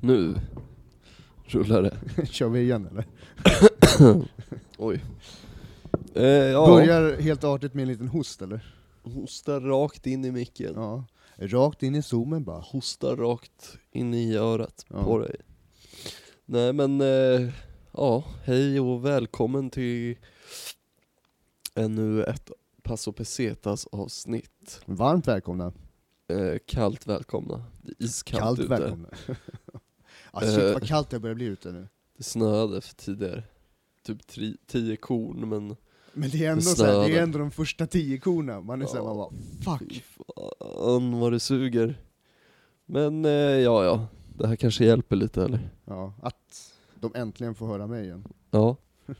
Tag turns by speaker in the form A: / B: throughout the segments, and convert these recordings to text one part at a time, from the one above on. A: Nu rullar det.
B: Kör vi igen eller?
A: Oj. Eh, ja.
B: Börjar helt artigt med en liten host eller?
A: Hosta rakt in i micken.
B: Ja. Rakt in i zoomen bara.
A: Hosta rakt in i örat
B: Ja.
A: på dig. Nej men, eh, ja, hej och välkommen till ännu ett Passo Pesetas avsnitt.
B: Varmt välkomna.
A: Eh, kallt välkomna. Det är iskallt
B: Kallt,
A: ute. Eh.
B: välkomna. ah, shit vad kallt det börjar bli ute nu.
A: Det snöade för tidigare. Typ tri- tio korn men
B: Men det är ändå
A: Det
B: så här, det
A: snöade.
B: är ändå de första tio korna. Man är såhär,
A: Ja.
B: man bara fuck.
A: Fan vad det suger. Men eh, ja, ja. Det här kanske hjälper lite eller?
B: Ja, att de äntligen får höra mig igen.
A: Ja. Vi
B: Och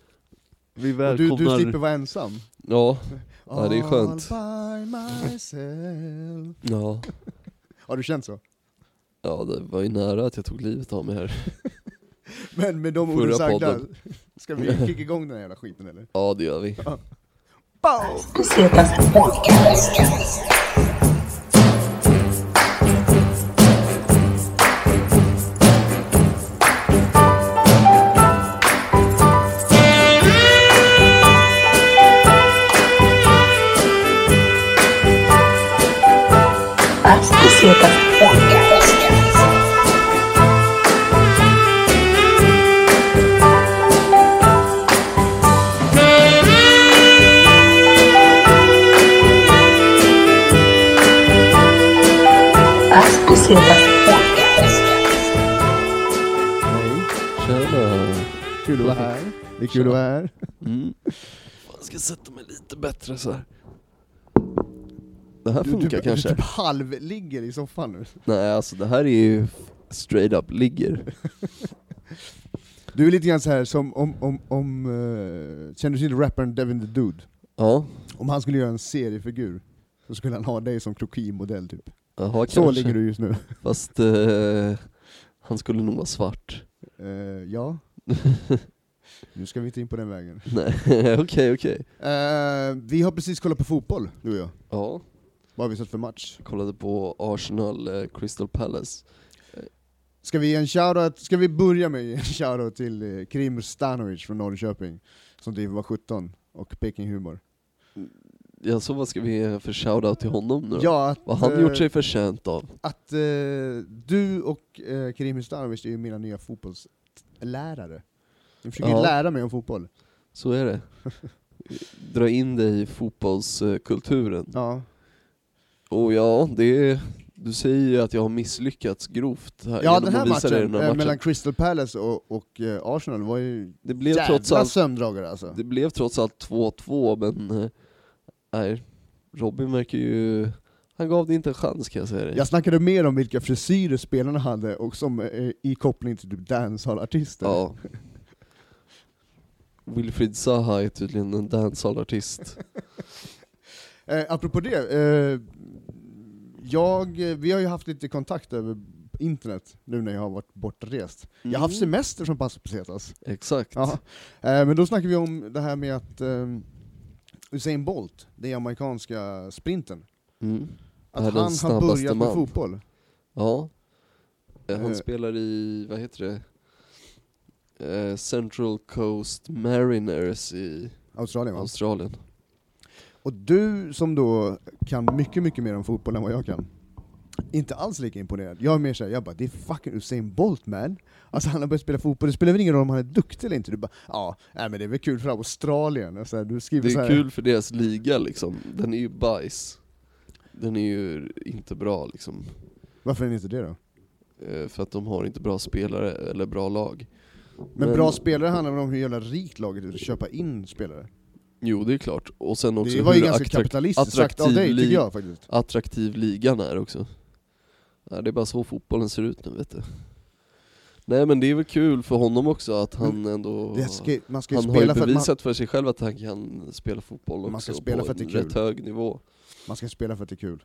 B: du,
A: välkomnar...
B: du slipper vara ensam.
A: Ja, Ja, det är skönt.
B: All by myself.
A: ja.
B: Har du känt så?
A: Ja, det var ju nära att jag tog livet av mig här.
B: Men med de
A: Förra
B: orden sagda,
A: podden.
B: ska vi kicka igång den här jävla skiten eller?
A: Ja, det gör vi.
B: Bow!
C: Pesetas Podcast. As Pesetas Podcast.
B: Hej,
A: Tjena.
B: kul att vara här. Det är kul att vara här.
A: Mm. Fan, Jag ska sätta mig lite bättre så här. Det här
B: Du-
A: funkar
B: du,
A: kanske?
B: Du typ halvligger i soffan nu.
A: Nej, alltså det här är ju f- straight up ligger.
B: Du är lite grann så här som om, om, om eh, känner du till rapparen Devin the Dude?
A: Ja.
B: Om han skulle göra en seriefigur, så skulle han ha dig som krokimodell typ.
A: Jaha,
B: Så
A: kanske.
B: ligger du just nu.
A: Fast eh, han skulle nog vara svart.
B: Eh, ja. nu ska vi inte in på den vägen.
A: Nej, okej, okej.
B: Eh, vi har precis kollat på fotboll, du och jag.
A: Ja,
B: Vad har vi sett för match?
A: jag kollade på Arsenal eh, Crystal Palace.
B: Ska vi, ge en shoutout, ska vi börja med att ge en shoutout till eh, Krim Stanovic från Norrköping, som driver var 17 och Peking Humor.
A: Jag så vad ska vi ge för shoutout till honom nu då?
B: Ja, att,
A: Vad har han
B: eh,
A: gjort sig förtjänt av?
B: att eh, du och eh, Karim Hustanovic är ju mina nya fotbollslärare. Du försöker ju
A: Ja.
B: lära mig om fotboll.
A: Så är det. Dra in dig i fotbollskulturen.
B: Ja.
A: Och ja, det är, du säger ju att jag har misslyckats grovt här
B: Ja
A: genom
B: den här
A: att visa dig
B: matchen,
A: den här
B: eh,
A: matchen.
B: mellan Crystal Palace och, och eh, Arsenal var ju
A: Det blev trots
B: jävla
A: allt
B: sömndragare alltså.
A: Det blev trots allt 2-2 men, eh, nej, Robin verkar ju, han gav det inte en chans kan jag säga dig.
B: Jag snackade mer om vilka frisyrer spelarna hade, och som eh, i koppling till typ dancehallartister.
A: Ja. Wilfried Zaha är tydligen en dancehallartist.
B: Eh, apropå det, eh, jag, eh, vi har ju haft lite kontakt över internet nu när jag har varit bortrest. Jag har haft
A: Mm.
B: semester som Passo Pesetas.
A: Exakt.
B: Ja. Eh, men då snackar vi om det här med att eh, Usain Bolt, den amerikanska sprinten,
A: Mm.
B: att han
A: Världens
B: har
A: snabbaste
B: börjat med
A: man.
B: fotboll.
A: Ja. Eh, Han
B: Eh.
A: spelar i, vad heter det? Eh, Central Coast Mariners i
B: Australien va?
A: Australien.
B: Och du som då kan mycket, mycket mer om fotboll än vad jag kan, inte alls lika imponerad. Jag är mer såhär, jag bara det är fucking Usain Bolt man. Alltså han har börjat spela fotboll, det spelar väl ingen roll om han är duktig eller inte. Du bara, ja, nej, men det är väl kul för Australien. Och så här, du skriver
A: Det
B: så
A: är
B: här,
A: kul för deras liga liksom. Den är ju bajs. Den är ju inte bra liksom.
B: Varför är det inte det då?
A: Eh, För att de har inte bra spelare eller bra lag.
B: Men, bra spelare handlar väl om hur jävla rikt laget är att köpa in spelare?
A: Jo det är klart. Och sen också
B: Det var ju
A: hur
B: ganska
A: attrakt-
B: kapitalistiskt sagt av
A: attraktiv
B: dig
A: lig-
B: tycker jag faktiskt.
A: attraktiv ligan är också. Nej, det är bara så fotbollen ser ut nu vet du. Nej men det är väl kul för honom också att han ändå...
B: Mm. Det ska, man ska ju
A: han har ju
B: spela för att man,
A: bevisat för sig själv att han kan spela fotboll också
B: Man ska spela
A: på
B: för att det är
A: en
B: kul.
A: rätt hög nivå.
B: man ska spela för att det är kul,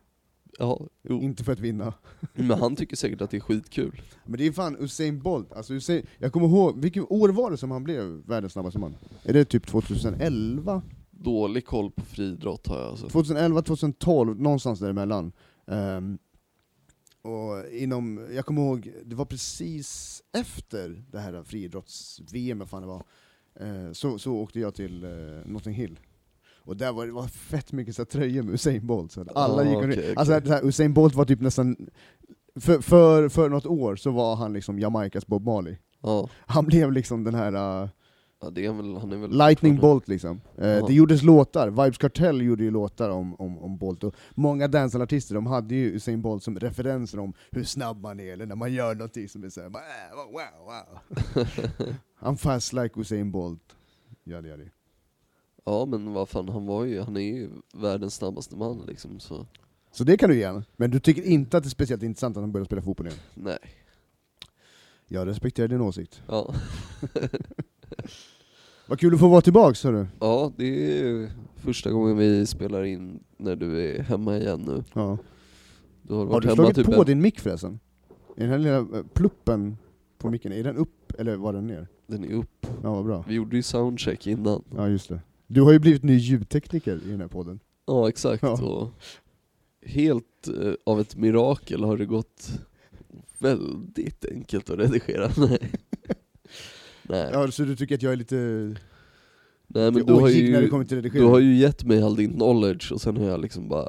A: Ja, jo.
B: inte för att vinna.
A: Men han tycker säkert att det är skitkul.
B: Men det är fan Usain Bolt, alltså Usain, jag kommer ihåg, vilket år var det som han blev världens snabbaste man? Är det typ 2011?
A: Dålig koll på friidrott har jag alltså.
B: 2011, 2012, någonstans däremellan. Um, Ehm, Och inom, jag kommer ihåg, det var precis efter det här friidrotts-VM, vad fan det var, eh, så, så åkte jag till eh, Notting Hill. Och där var det var fett mycket så här, tröjor med Usain Bolt. Så att alla
A: Ah,
B: gick omkring.
A: okej,
B: Alltså,
A: okej.
B: det här, Usain Bolt var typ nästan, för, för, för något år så var han liksom Jamaikas Bob Marley.
A: Ja,
B: Han blev liksom den här eh,
A: ja det är väl, han är väl
B: Lightning
A: fortfarande-
B: Bolt liksom. Eh,
A: Ja.
B: Det gjordes låtar, Vibes Kartell gjorde ju låtar om, om, om Bolt, och många danceartister de hade ju Usain Bolt som referenser om hur snabb man är, eller när man gör någonting som är såhär bara, "Äh, wow, wow, wow. I'm fast like Usain Bolt. Yadi, yadi.
A: Ja men vad fan, han var ju, han är ju världens snabbaste man liksom så,
B: Så det kan du ge han. Men du tycker inte att det är speciellt intressant att han börjar spela fotboll igen?
A: nej.
B: Jag respekterar din åsikt.
A: Ja,
B: Vad kul att få vara tillbaks hörru.
A: ja det är ju första gången vi spelar in när du är hemma igen nu.
B: Ja.
A: Du har,
B: Har
A: varit
B: du
A: hemma
B: slagit
A: typ
B: på
A: en-
B: din mick förresten? Är den här lilla eh, pluppen på micken, är den upp eller var den ner?
A: Den är upp.
B: Ja vad bra.
A: Vi gjorde ju soundcheck innan.
B: Ja, just det. Du har ju blivit ny ljudtekniker i den här podden.
A: Ja exakt,
B: Ja.
A: och helt eh, av ett mirakel har det gått väldigt enkelt att redigera. Nej. Nej.
B: Ja, så du tycker att jag är lite
A: Nej men
B: lite
A: du har,
B: ojig när det
A: ju,
B: kommer till redigering?
A: du har ju gett mig all din knowledge och sen har jag liksom bara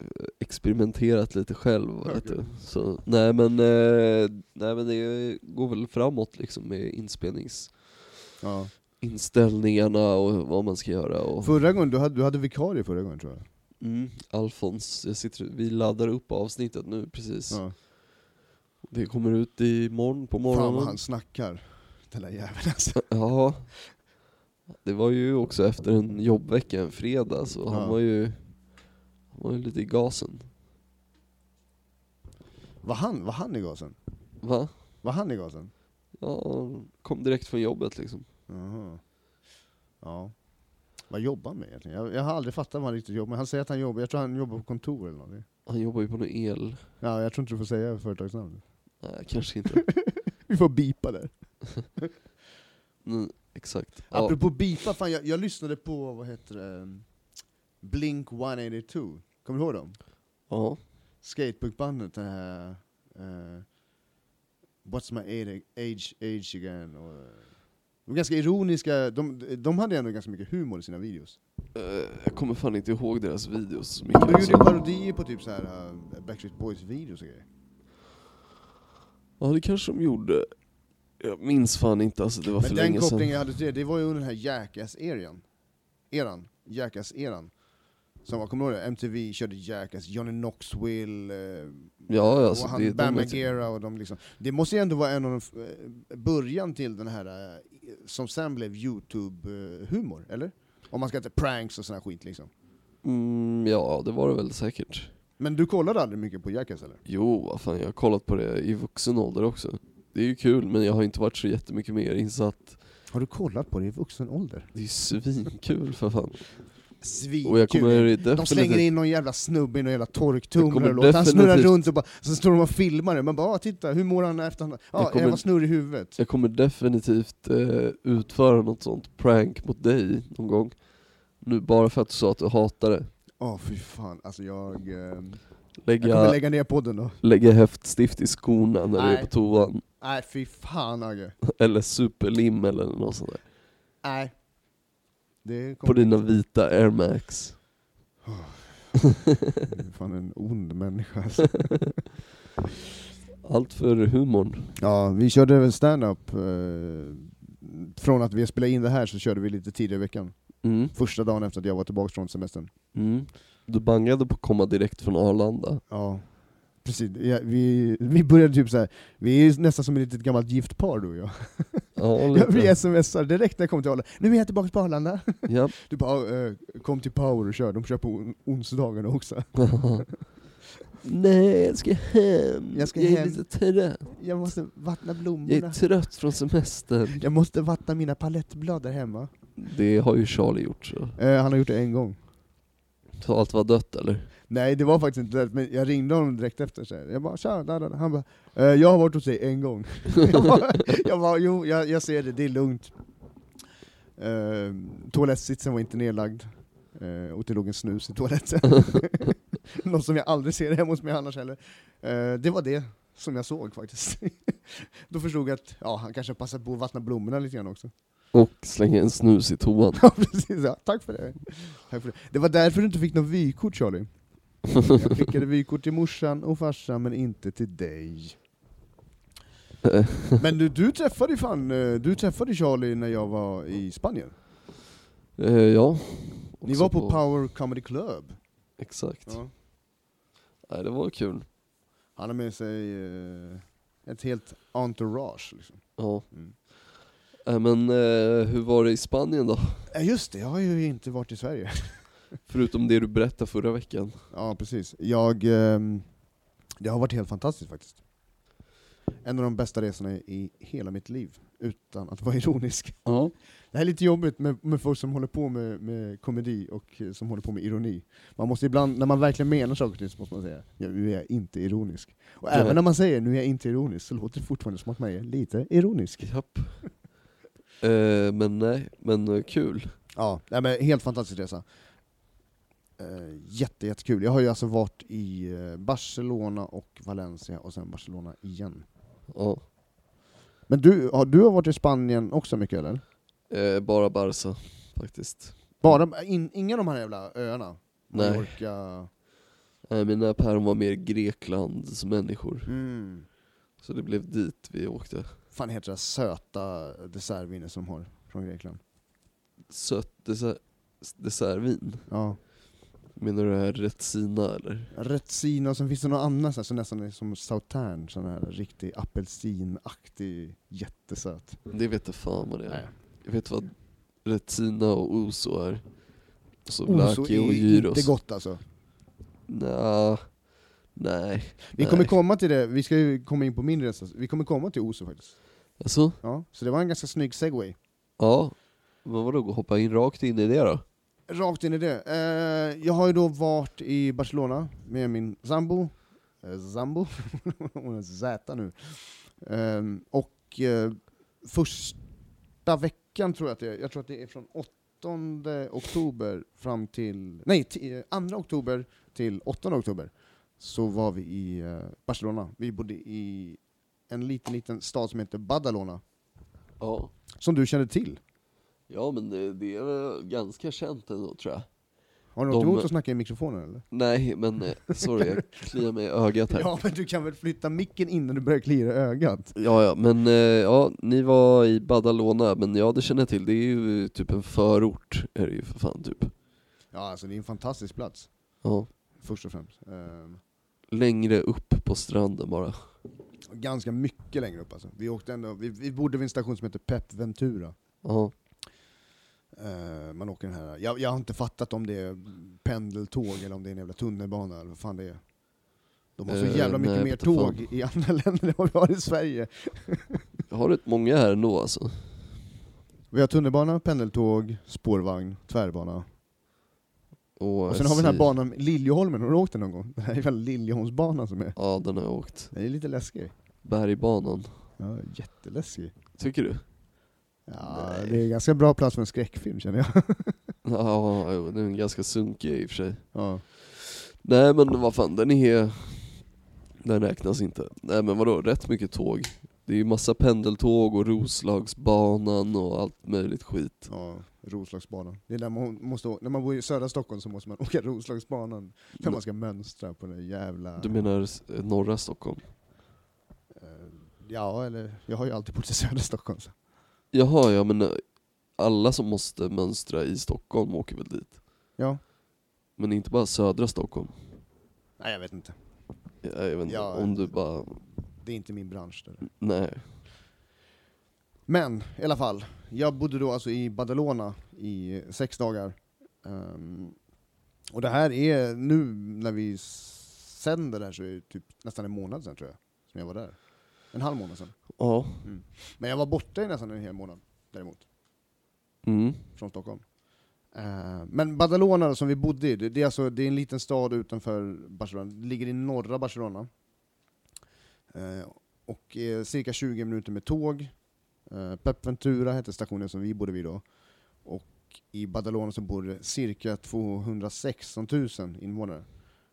A: eh, experimenterat lite själv. Vet du.
B: Okej.
A: Så, nej, men, eh, nej men det går väl framåt liksom med inspelningsinställningarna
B: ja.
A: och vad man ska göra. Och,
B: Förra gången, du hade, du hade vikarie förra gången tror jag.
A: mm, Alfons, jag sitter, vi laddar upp avsnittet nu precis.
B: Ja.
A: Det kommer ut imorgon på
B: Fan vad
A: morgonen.
B: han snackar. Den där jäveln alltså.
A: Ja. Det var ju också efter en jobbvecka, en fredag, så
B: Ja.
A: han var ju han var ju lite i gasen.
B: Var han, var han i gasen?
A: Va?
B: Var han i gasen?
A: Ja, han kom direkt från jobbet liksom.
B: Jaha. Ja. Vad jobbar han med egentligen? Jag, jag har aldrig fattat vad han riktigt jobbar med. Han säger att han jobbar, jag tror han jobbar på kontor eller någonting.
A: Han jobbar ju på någon el...
B: Ja, jag tror inte du får säga företagsnamn.
A: Nej, kanske inte.
B: Vi får bipa där.
A: Nej, exakt. Ja.
B: Apropå beepa, fan jag, jag lyssnade på, vad heter det, ehm, Blink 182, kommer du ihåg dem?
A: ja.
B: Skatebookbandet, det här... eh, What's my age, age, age again? Och, eh, de var ganska ironiska, de, de hade ändå ganska mycket humor i sina videos.
A: Eh, jag kommer fan inte ihåg deras videos så
B: De
A: mycket.
B: gjorde ju
A: Alltså.
B: parodier på typ så här eh, Backstreet Boys-videos och grejer.
A: Ja, det kanske de gjorde. Jag minns fan inte, alltså det var för
B: Men den
A: länge
B: kopplingen
A: sedan.
B: jag hade till det, det var ju under den här Jackass-eran. Eran. Jackass-eran. Som var, kommer du ihåg det? MTV körde Jackass, Johnny Knoxville, eh,
A: Ja, alltså,
B: och
A: det är
B: han
A: de
B: Bam
A: jag-
B: Margera och de liksom. Det måste ju ändå vara en av de, f- eh, början till den här, eh, som sen blev Youtube-humor, eller? Om man ska inte pranks och sån här skit liksom.
A: Mm, ja, det var det väl säkert.
B: Men du kollade aldrig mycket på Jackass eller?
A: Jo, vad fan, jag har kollat på det i vuxen ålder också. Det är ju kul, men jag har inte varit så jättemycket mer insatt.
B: Har du kollat på det i vuxen ålder?
A: Det är ju svinkul för fan. Och jag kommer
B: Svinkul! De slänger
A: definitivt...
B: in någon jävla snubbe i någon jävla
A: Det
B: torktumlare
A: kommer
B: och låter han snurra
A: definitivt-
B: runt och bara, så står de och filmar det, man bara "Ah, titta, hur mår han efter han... Ja,
A: kommer-
B: jag var snurrig i huvudet.
A: Jag kommer definitivt eh, utföra något sånt prank mot dig någon gång. Nu bara för att du sa att du hatar det.
B: Åh fy fan, alltså jag... ehm, Jag kommer
A: Lägga,
B: lägga ner podden då.
A: lägga häftstift i skorna när du är
B: Nej.
A: på toan.
B: Nej fy fan Agge.
A: Eller superlim eller något sånt där.
B: Nej. Det kommer
A: På dina vita Air Max.
B: Du är fan en ond människa alltså.
A: Allt för humorn.
B: Ja, vi körde väl stand-up. Eh, från att vi spelade in det här så körde vi lite tidigare i veckan.
A: Mm.
B: Första dagen efter att jag var tillbaka från semestern.
A: Mm. Du bangade på att komma direkt från Arlanda.
B: Ja, precis. Ja, vi, vi började typ så här. vi är ju nästan som ett litet gammalt gift par du och jag.
A: Ja,
B: Ja,
A: lite.
B: vi smsar direkt när jag kom till Arlanda. Nu är jag tillbaka på Arlanda.
A: Ja.
B: Du bara, eh, kom till Power och kör, de kör på on- onsdagarna också.
A: Nej, jag ska hem.
B: Jag ska
A: jag är
B: hem.
A: lite trött.
B: Jag måste vattna
A: Jag är
B: blommorna.
A: trött från semestern.
B: Jag måste vattna mina palettblad där hemma.
A: Det har ju Charlie gjort så.
B: Eh, han har gjort det en gång.
A: Så allt var dött eller?
B: Nej det var faktiskt inte det, men jag ringde honom direkt efter så här. jag bara tja, da, da, da. han bara eh, jag har varit hos dig en gång. jag, bara, jag bara jo, jag, jag ser det, det är lugnt. Ehm, Eh, toalettsitsen var inte nedlagd, eh, och det låg en snus i toaletten. Något som jag aldrig ser hemma hos mig annars heller. Eh, det var det som jag såg faktiskt. Då förstod jag att ja, han kanske passade på att vattna blommorna lite grann också.
A: Och slänga en snus i toan.
B: Ja, precis. Ja. Tack, för det. Tack för det. Det var därför du inte fick något vykort Charlie. Jag skickade vykort till morsan och farsan men inte till dig. Men du, du träffade ju fan, eh, du träffade Charlie när jag var i Spanien.
A: Eh, ja.
B: Ni
A: Också
B: var på Power Comedy Club.
A: Exakt. Nej, det var kul.
B: Han har med sig eh, ett helt entourage. Liksom.
A: Ja.
B: Mm.
A: Eh, men eh, hur var det i Spanien då?
B: Eh, Just det, jag har ju inte varit i Sverige.
A: Förutom det du berättade förra veckan.
B: Ja, precis. Jag, ehm, det har varit helt fantastiskt faktiskt. En av de bästa resorna i hela mitt liv, utan att vara ironisk.
A: Ja.
B: Det här är lite jobbigt med, med folk som håller på med, med komedi och eh, som håller på med ironi. Man måste ibland, när man verkligen menar saker och ting så måste man säga ja, nu är jag inte ironisk. Och
A: Ja.
B: även när man säger nu är jag inte ironisk så låter det fortfarande som att man är lite ironisk.
A: Japp. Eh, men nej, men eh, kul.
B: Ja, nej, men helt fantastisk resa. Eh, jätte, jättekul. Jag har ju alltså varit i eh, Barcelona och Valencia och sen Barcelona igen.
A: Ja.
B: Men du har, du har varit i Spanien också mycket eller?
A: Eh, bara Barca faktiskt.
B: Bara, in, inga av de här jävla öarna?
A: Nej.
B: Mallorca...
A: Eh, mina päron var mer Greklandsmänniskor.
B: Mm.
A: Så det blev dit vi åkte.
B: Fan heter det söta dessertviner som de har från Grekland?
A: Sött dessert, dessertvin.
B: Ja.
A: Menar du det här Retsina eller?
B: Retsina och sen finns det något annat så här, som nästan är som sautern, sån här riktig apelsinaktig, jättesöt.
A: Det vet jag fan vad det är. Jag vet vad Retsina och Ouzo är. Och så
B: Oso
A: Vlaki och Gyros.
B: inte gott alltså.
A: Nja, nej.
B: Vi
A: nej.
B: kommer komma till det, vi ska ju komma in på min resa, vi kommer komma till Oso faktiskt.
A: Alltså?
B: Ja, så det var en ganska snygg segway.
A: Ja. Men vadå, hoppa in rakt in i det då?
B: Rakt in i det. Eh, jag har ju då varit i Barcelona med min sambo, eh, sambo, hon är Z nu. Ehm, och eh, första veckan tror jag att det är, jag tror att det är från 8 oktober fram till, nej, t- eh, 2 oktober till 8 oktober, så var vi i eh, Barcelona. Vi bodde i en liten, liten stad som heter Badalona,
A: Ja.
B: som du kände till.
A: Ja men det, det är väl ganska känt ändå tror jag.
B: Har du något
A: De-
B: emot att snacka i mikrofonen eller?
A: Nej men eh, sorry, jag kliar mig i ögat här.
B: Ja, men du kan väl flytta micken innan du börjar klia i ögat?
A: Ja, ja, men eh, ja, ni var i Badalona, men ja det känner jag till, det är ju typ en förort, är det ju för fan typ.
B: Ja, alltså det är en fantastisk plats,
A: Ja.
B: först och främst. Ehm,
A: Längre upp på stranden bara.
B: ganska mycket längre upp alltså. Vi, åkte ändå, vi, vi bodde vid en station som heter Pep Ventura.
A: Ja,
B: Ehm, man åker den här, jag, jag har inte fattat om det är pendeltåg eller om det är en jävla tunnelbana eller vad fan det är. De har så
A: Eh,
B: jävla mycket
A: nej,
B: mer
A: jag vet inte
B: tåg i andra länder än vad vi har i Sverige.
A: jag har rätt många här ändå alltså.
B: Vi har tunnelbana, pendeltåg, spårvagn, tvärbana.
A: Och,
B: Och sen har vi den här
A: SJ.
B: banan, Liljeholmen, har du åkt den någon gång? Den här jävla Liljeholmsbanan som är,
A: Ja, den har jag åkt.
B: den är lite läskig.
A: Bergbanan.
B: Ja, jätteläskig.
A: Tycker du?
B: Ja,
A: Nej.
B: det är en ganska bra plats för en skräckfilm känner jag.
A: Ja, jo, den är ganska sunkig i och för sig.
B: Ja.
A: Nej men vad fan, den är... Den räknas inte. Nej men vadå, rätt mycket tåg. Det är ju massa pendeltåg och Roslagsbanan och allt möjligt skit.
B: ja, Roslagsbanan. Det är där man måste å- när man bor i södra Stockholm så måste man åka Roslagsbanan när man ska mönstra på den jävla...
A: Du menar eh, norra Stockholm?
B: Eh, ja, eller jag har ju alltid bott i södra Stockholm. Så.
A: Jaha, ja men eh, alla som måste mönstra i Stockholm åker väl dit?
B: Ja.
A: Men inte bara södra Stockholm?
B: Nej, jag vet inte.
A: Jag, jag vet inte,
B: Ja.
A: om du bara...
B: Det är inte min bransch. Det där.
A: Nej.
B: Men i alla fall, jag bodde då alltså i Badalona i sex dagar. Ehm, och det här är, nu när vi s- sänder det här så är det typ nästan en månad sedan tror jag, som jag var där. En halv månad sedan.
A: Ja.
B: Men jag var borta i nästan en hel månad däremot,
A: Mm.
B: från Stockholm. Eh, Men Badalona då, som vi bodde i, det det är, alltså, det är en liten stad utanför Barcelona, det ligger i norra Barcelona. Eh, Och är cirka 20 minuter med tåg. Eh, Pep Ventura hette stationen som vi bodde vid då. Och i Badalona så bor det cirka 216 000 invånare.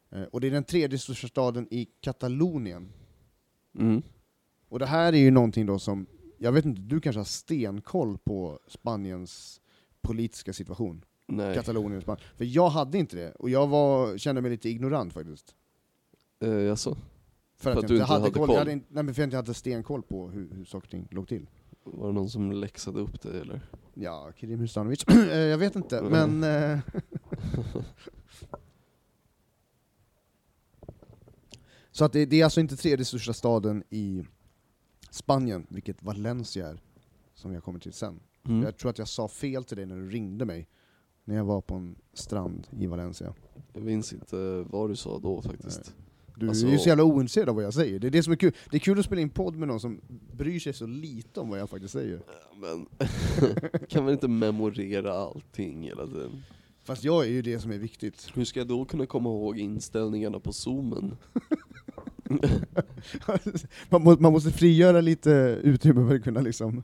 B: Eh, Och det är den tredje största staden i Katalonien.
A: Mm.
B: Och det här är ju någonting då som, jag vet inte, du kanske har stenkoll på Spaniens politiska situation?
A: Nej.
B: Katalonien och Spanien. För jag hade inte det, och jag var, kände mig lite ignorant faktiskt.
A: Eh, jaså?
B: För,
A: att
B: jag
A: du inte hade koll.
B: Jag hade, inte- nej, men för att jag inte hade stenkoll på hur, hur saker och ting låg till.
A: Var det någon som läxade upp dig eller?
B: Ja, Krim Hustanovic. Eh, jag vet inte,
A: Mm.
B: men... eh, Så att det, det är alltså inte tredje största staden i Spanien, vilket Valencia är, som jag kommer till sen.
A: Mm.
B: Jag tror att jag sa fel till dig när du ringde mig, när jag var på en strand i Valencia.
A: Jag minns inte vad du sa då faktiskt.
B: Du
A: Alltså-
B: är ju så jävla ointresserad av vad jag säger, det är det som är kul. Det är kul att spela in podd med någon som bryr sig så lite om vad jag faktiskt säger.
A: Men kan man inte memorera allting hela tiden?
B: Fast jag är ju det som är viktigt.
A: Hur ska jag då kunna komma ihåg inställningarna på zoomen?
B: man, må, man måste frigöra lite utrymme för att kunna liksom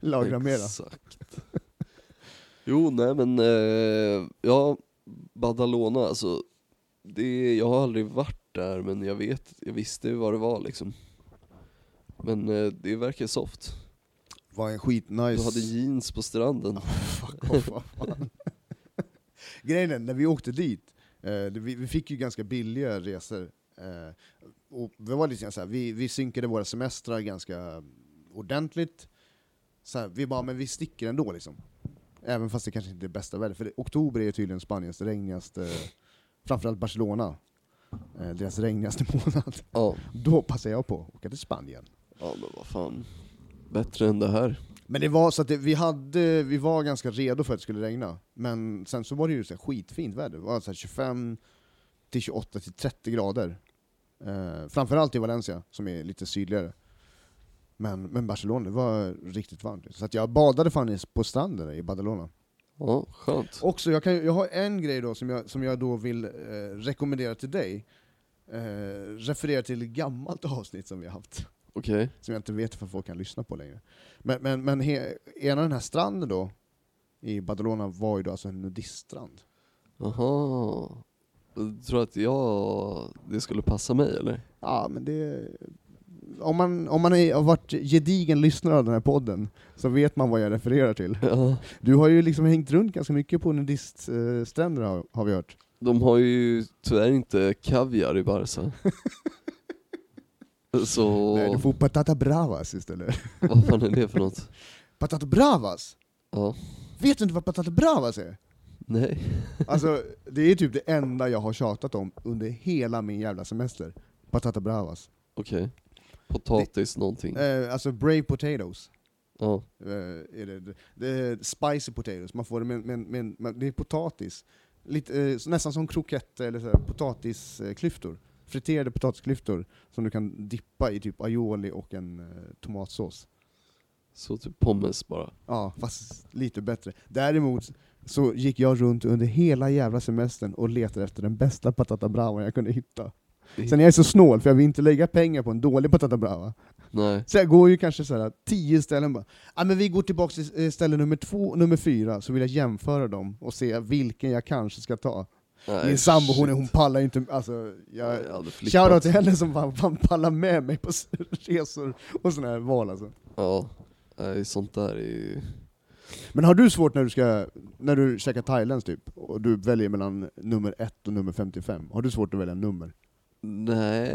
B: lagra mera.
A: Exakt. Jo, nej men, eh, ja, Badalona alltså. Det, jag har aldrig varit där men jag vet, jag visste ju vad det var liksom. Men eh, det verkar soft.
B: Var en skitnice...
A: Du hade jeans på stranden.
B: Fuck off, vad fan. Grejen är, när vi åkte dit, eh, det- vi, vi fick ju ganska billiga resor. Eh, och vi, var lite grann så här, vi, vi synkade våra semestrar ganska ordentligt. Så här, vi bara, men vi sticker ändå liksom. Även fast det kanske inte är bästa vädret, för det, oktober är tydligen Spaniens regnigaste, framförallt Barcelona, eh, deras regnigaste månad.
A: Ja,
B: Då passade jag på att åka till Spanien.
A: ja men vad fan. Bättre än det här.
B: Men det var så att det, vi, hade, vi var ganska redo för att det skulle regna, men sen så var det ju så här skitfint väder. Det var så här 25 till 28 till 30 grader. Eh, framförallt i Valencia, som är lite sydligare. Men, men Barcelona, det var riktigt varmt. Så att jag badade fan i- på stranden där i Badalona.
A: Ja, skönt.
B: Också, jag, kan, ju- jag har en grej då som jag, som jag då vill eh, rekommendera till dig. Eh, referera till ett gammalt avsnitt som vi har haft
A: Okej.
B: som jag inte vet om folk kan lyssna på längre. Men, men, men he, ena den här stranden då, i Badalona, var ju då alltså en nudiststrand.
A: Jaha. Du tror att jag, det skulle passa mig eller?
B: Ja, men det... Om man, om man är, har varit gedigen lyssnare av den här podden, så vet man vad jag refererar till.
A: Ja.
B: Du har ju liksom hängt runt ganska mycket på nudiststränder har, har vi hört.
A: De har ju tyvärr inte kaviar i Barca. Så,
B: Nej, du får patata bravas istället.
A: vad fan är det för något?
B: Patata bravas?
A: Ja,
B: Vet du inte vad patata bravas är?
A: nej.
B: Alltså, det är typ det enda jag har tjatat om under hela min jävla semester. Patata bravas.
A: Okej. Potatis någonting.
B: Eh, alltså brave potatoes.
A: Ja,
B: Eh, är det, det, det är spicy potatoes, man får det med, med, med, med det är potatis. Lite, eh, så- nästan som kroketter eller så här, potatisklyftor. Friterade potatisklyftor som du kan dippa i typ aioli och en eh, tomatsås.
A: så typ pommes bara.
B: Ja, fast lite bättre. Däremot så gick jag runt under hela jävla semestern och letade efter den bästa patata brava jag kunde hitta. Sen är jag så snål, för jag vill inte lägga pengar på en dålig patata brava.
A: Nej.
B: Så jag går ju kanske så här, tio ställen bara, ja men vi går tillbaka till eh, ställe nummer två och nummer fyra, så vill jag jämföra dem och se vilken jag kanske ska ta.
A: nej
B: Min sambo hon,
A: shit.
B: är- hon pallar ju inte, alltså, jag,
A: Jag hade flippat.
B: shoutout till henne som fan, fan pallar med mig på s- resor och sådana här val alltså.
A: Ja. Nej, sånt där är ju...
B: Men har du svårt när du ska, när du käkar thailändskt typ, och du väljer mellan nummer ett och nummer 55, har du svårt att välja nummer?
A: Nej,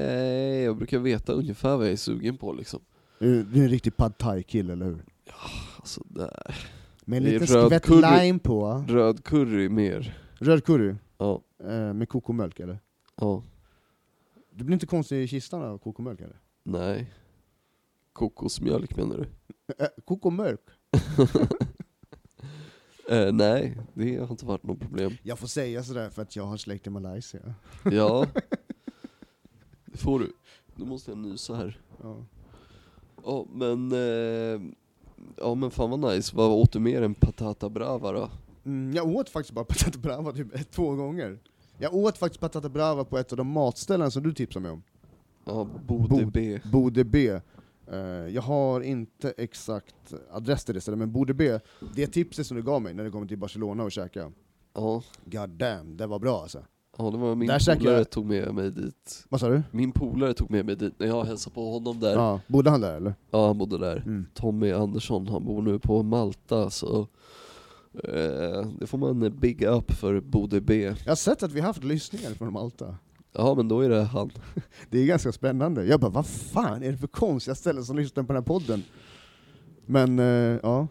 A: jag brukar veta ungefär vad jag är sugen på liksom.
B: Eh, Du är en riktig pad thai-kille, eller hur?
A: Alltså, där.
B: Med en
A: Det är
B: liten
A: röd
B: skvätt
A: curry.
B: lime på.
A: Röd curry mer.
B: Röd curry,
A: Ja,
B: eh, med kokomjölk eller?
A: ja,
B: Du blir inte konstig i kistan av kokomjölk eller?
A: nej. Kokosmjölk menar du?
B: Äh, kokomjölk?
A: Eh, nej, det har inte varit något problem.
B: Jag får säga sådär för att jag har släkt i Malaysia.
A: Ja. Det får du. Nu måste jag nysa här.
B: Ja.
A: Ja men, eh, ja men fan vad nice. Vad åt du mer än patata brava då?
B: Mm, jag åt faktiskt bara patata brava typ ett, två gånger. Jag åt faktiskt patata brava på ett av de matställen som du tipsade mig om.
A: Ja, Bode
B: Bod.
A: B.
B: Bode B. Eh, jag har inte exakt adress till det stället, men Bode B, det tipset som du gav mig när det kommer till Barcelona och käka,
A: Ja,
B: god damn, det var bra alltså.
A: Ja, det var min
B: Där käkade
A: polare
B: jag-
A: tog med mig dit.
B: Vad sa du?
A: Min polare tog med mig dit när jag hälsade på honom där. Ja,
B: Ja, bodde han där eller?
A: han bodde där.
B: Mm.
A: Tommy Andersson, han bor nu på Malta så eh, det får man eh, big up för Bode B.
B: Jag har sett att vi har haft lyssningar från Malta.
A: Ja men då är det han.
B: Det är ganska spännande. Jag bara, vad fan är det för konstiga ställen som lyssnar på den här podden? Men, eh, ja.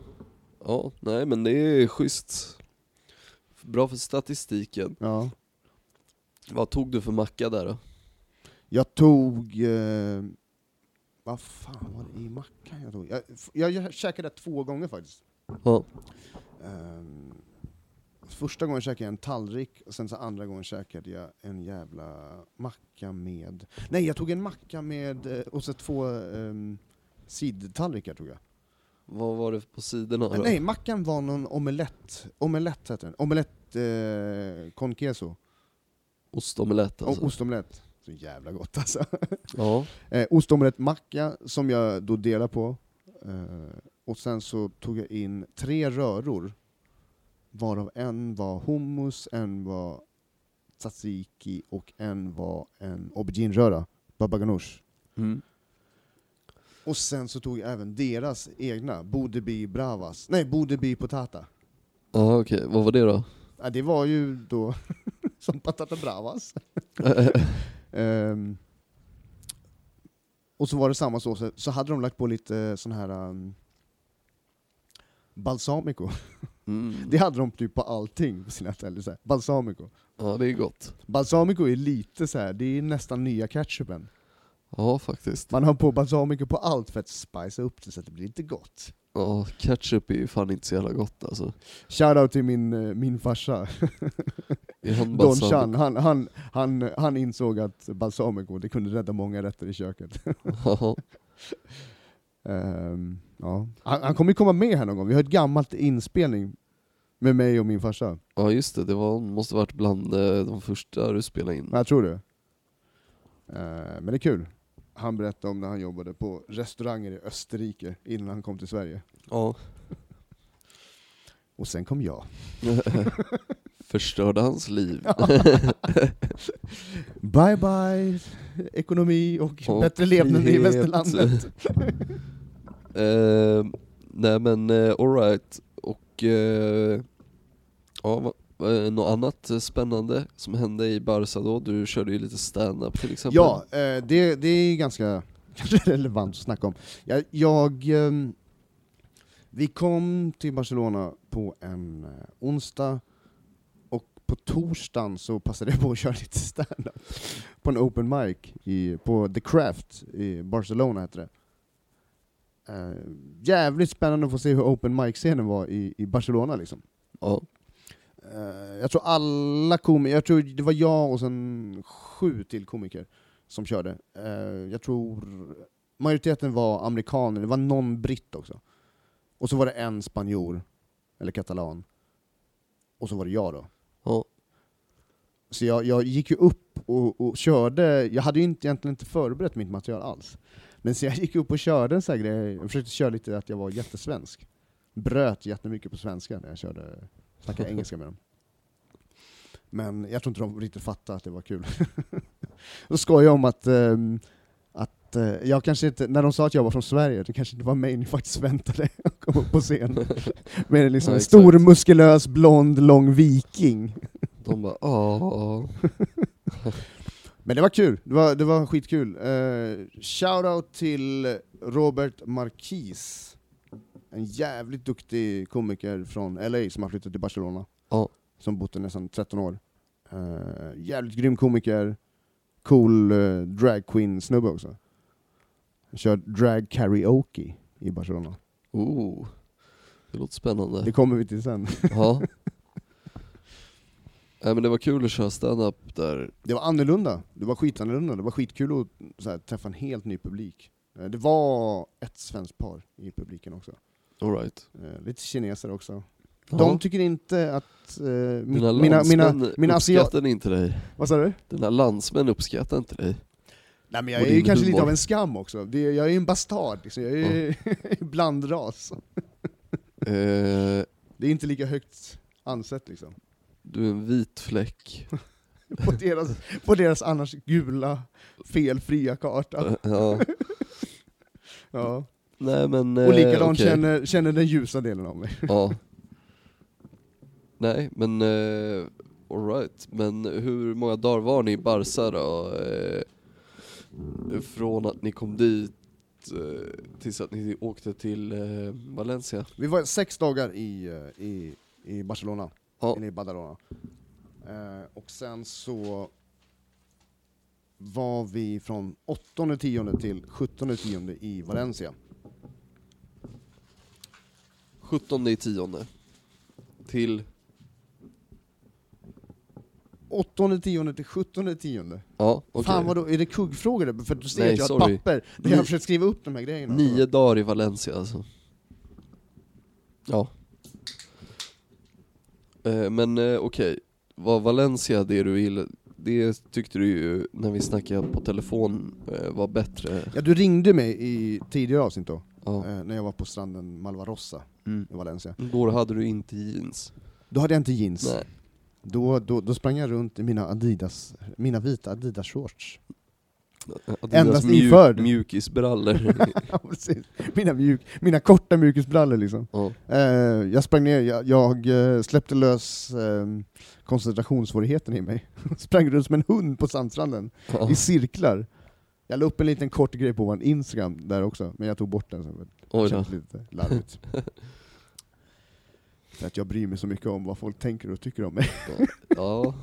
A: Ja, nej men det är schysst. Bra för statistiken.
B: ja.
A: Vad tog du för macka där då?
B: Jag tog... Eh, vad fan var det i mackan jag tog? Jag, jag, jag käkade det två gånger faktiskt.
A: Ja,
B: Ehm, första gången käkade jag en tallrik, och sen så andra gången käkade jag en jävla macka med... Nej, jag tog en macka med, eh, och så två um, sidtallrikar tog jag.
A: vad var det på sidorna då?
B: Eh, Nej, mackan var någon omelett, omelett heter den. Omelett eh, con queso.
A: Ostomelett
B: O-
A: alltså?
B: Ostomelett. Så jävla gott alltså.
A: ja.
B: Eh, ostomelett macka som jag då delar på. Eh, och sen så tog jag in tre röror, varav en var hummus, en var tzatziki och en var en aubergine-röra, baba ganoush.
A: Mm.
B: Och sen så tog jag även deras egna, Bodebi Bravas, nej Bodebi Potata.
A: Ja okej, vad var det då?
B: Ja, det var ju då som Patata Bravas. Ehm, och så var det samma sås, så hade de lagt på lite sån här um, balsamico.
A: Mm.
B: Det hade de typ på allting på sina ställen. så här. Balsamico.
A: Ja det är gott.
B: Balsamico är lite så här. det är nästan nya ketchupen.
A: Ja faktiskt.
B: Man har på balsamico på allt för att spicea upp det så att det blir lite gott.
A: Ja, ketchup är ju fan inte så jävla gott alltså.
B: Shoutout till min, eh, min farsa,
A: Är han
B: Don
A: balsam-
B: Chan. Han, han, han, han insåg att balsamico, det kunde rädda många rätter i köket.
A: Ja.
B: Ehm, ja. han, han kommer ju komma med här någon gång, vi har ett gammalt inspelning med mig och min farsa.
A: ja just det, det var, måste varit bland eh, de första du spelade in.
B: Jag tror det. Eh, men det är kul. Han berättade om när han jobbade på restauranger i Österrike innan han kom till Sverige.
A: Ja.
B: Och sen kom jag.
A: Förstörde hans liv.
B: Bye bye ekonomi och,
A: Och
B: bättre levnad i
A: frihet.
B: västerlandet.
A: Eh, nej men eh, alright, och eh, ja, va, eh, något annat eh, spännande som hände i Barca då? Du körde ju lite stand-up till exempel.
B: Ja, eh, det, det är ganska kanske relevant att snacka om. Jag, jag, ehm, vi kom till Barcelona på en eh, onsdag, och på torsdagen så passade jag på att köra lite stand-up på en open mic i, på The Craft i Barcelona, heter det. Eh, jävligt spännande att få se hur open mic-scenen var i, i Barcelona liksom.
A: Ja,
B: Eh, jag tror alla komiker, jag tror det var jag och sen sju till komiker som körde. Eh, jag tror majoriteten var amerikaner, det var någon britt också. Och så var det en spanjor, eller katalan. Och så var det jag då.
A: ja,
B: Så jag, jag gick ju upp och, och körde, jag hade ju inte, egentligen inte förberett mitt material alls. Men så jag gick upp och körde en sån här grej, jag försökte köra lite att jag var jättesvensk. Bröt jättemycket på svenska när jag körde, snackade engelska med dem. Men jag tror inte de riktigt fattade att det var kul. Då skojade jag om att, ehm, att eh, jag kanske inte, när de sa att jag var från Sverige, det kanske inte var mig ni faktiskt väntade att komma upp på scen. Med liksom
A: Ja,
B: en
A: exakt.
B: stor, muskulös, blond, lång viking.
A: de bara ja.
B: Men det var kul, det var, det var skitkul. Uh, Shoutout till Robert Marquis, en jävligt duktig komiker från LA som har flyttat till Barcelona,
A: Ja.
B: som bott där nästan 13 år. Eh, jävligt grym komiker, cool uh, drag queen snubbe också. Han Kör drag karaoke i Barcelona.
A: Oh. Det låter
B: Det
A: spännande.
B: kommer vi till sen.
A: Ja. Nej men det var kul att köra stand-up där.
B: Det var annorlunda, det var skitannorlunda, det var skitkul att så här, träffa en helt ny publik. Eh, det var ett svenskt par i publiken också.
A: Alright.
B: Eh, lite kineser också.
A: Ja.
B: De tycker inte att... eh, mi-
A: Dina
B: mina mina,
A: landsmän
B: mina asiater...
A: uppskattar inte dig.
B: Vad sa du?
A: Dina landsmän uppskattar inte dig.
B: Nej, men jag
A: Och
B: är ju
A: din
B: kanske lite
A: humor.
B: av en skam också. Det, jag är ju en bastard, liksom. jag är ju blandras.
A: Eh,
B: Det är inte lika högt ansett liksom.
A: du är en vit fläck
B: på deras, på deras annars gula, felfria karta.
A: Ja.
B: Ja.
A: Nej men... eh,
B: Och likadant
A: okej.
B: känner, känner den ljusa delen av mig.
A: Ja. Nej men, eh, alright. Men hur många dagar var ni i Barca då? Eh, från att ni kom dit eh, tills att ni åkte till eh, Valencia?
B: Vi var sex dagar i, eh, i, i Barcelona,
A: Ja.
B: eller i Badalona. Eh, och sen så var vi från 8.10 till 17.10 i Valencia.
A: 17 i tionde. Till,
B: 8.10 till 17.10.
A: ja okej.
B: Fan vadå, är det kuggfrågor där? För du ser
A: Nej,
B: att jag har
A: sorry.
B: ett papper där jag har försökt skriva upp de här grejerna.
A: Nio dagar i Valencia alltså. Ja. Eh, Men eh, okej, var Valencia det du gillade? Det tyckte du ju när vi snackade på telefon eh, var bättre.
B: Ja, du ringde mig i tidigare avsnitt då,
A: Ja.
B: eh, när jag var på stranden Malvarossa
A: Mm.
B: i Valencia.
A: Då hade du inte jeans.
B: Då hade jag inte jeans.
A: Nej.
B: Då, då, då sprang jag runt i mina Adidas, mina vita Adidas-shorts.
A: Adidas
B: Endast iförd.
A: Mjukisbrallor.
B: Ja, precis. mina, mjuk, mina korta mjukisbrallor liksom.
A: ja.
B: Eh, jag sprang ner, jag, jag eh, släppte lös eh, koncentrationssvårigheten i mig. sprang runt som en hund på sandstranden.
A: Ja.
B: i cirklar. Jag la upp en liten kort grej på vår Instagram där också, men jag tog bort den. Så
A: Oj
B: det
A: då.
B: kändes lite larvigt. För att jag bryr mig så mycket om vad folk tänker och tycker om mig.
A: ja.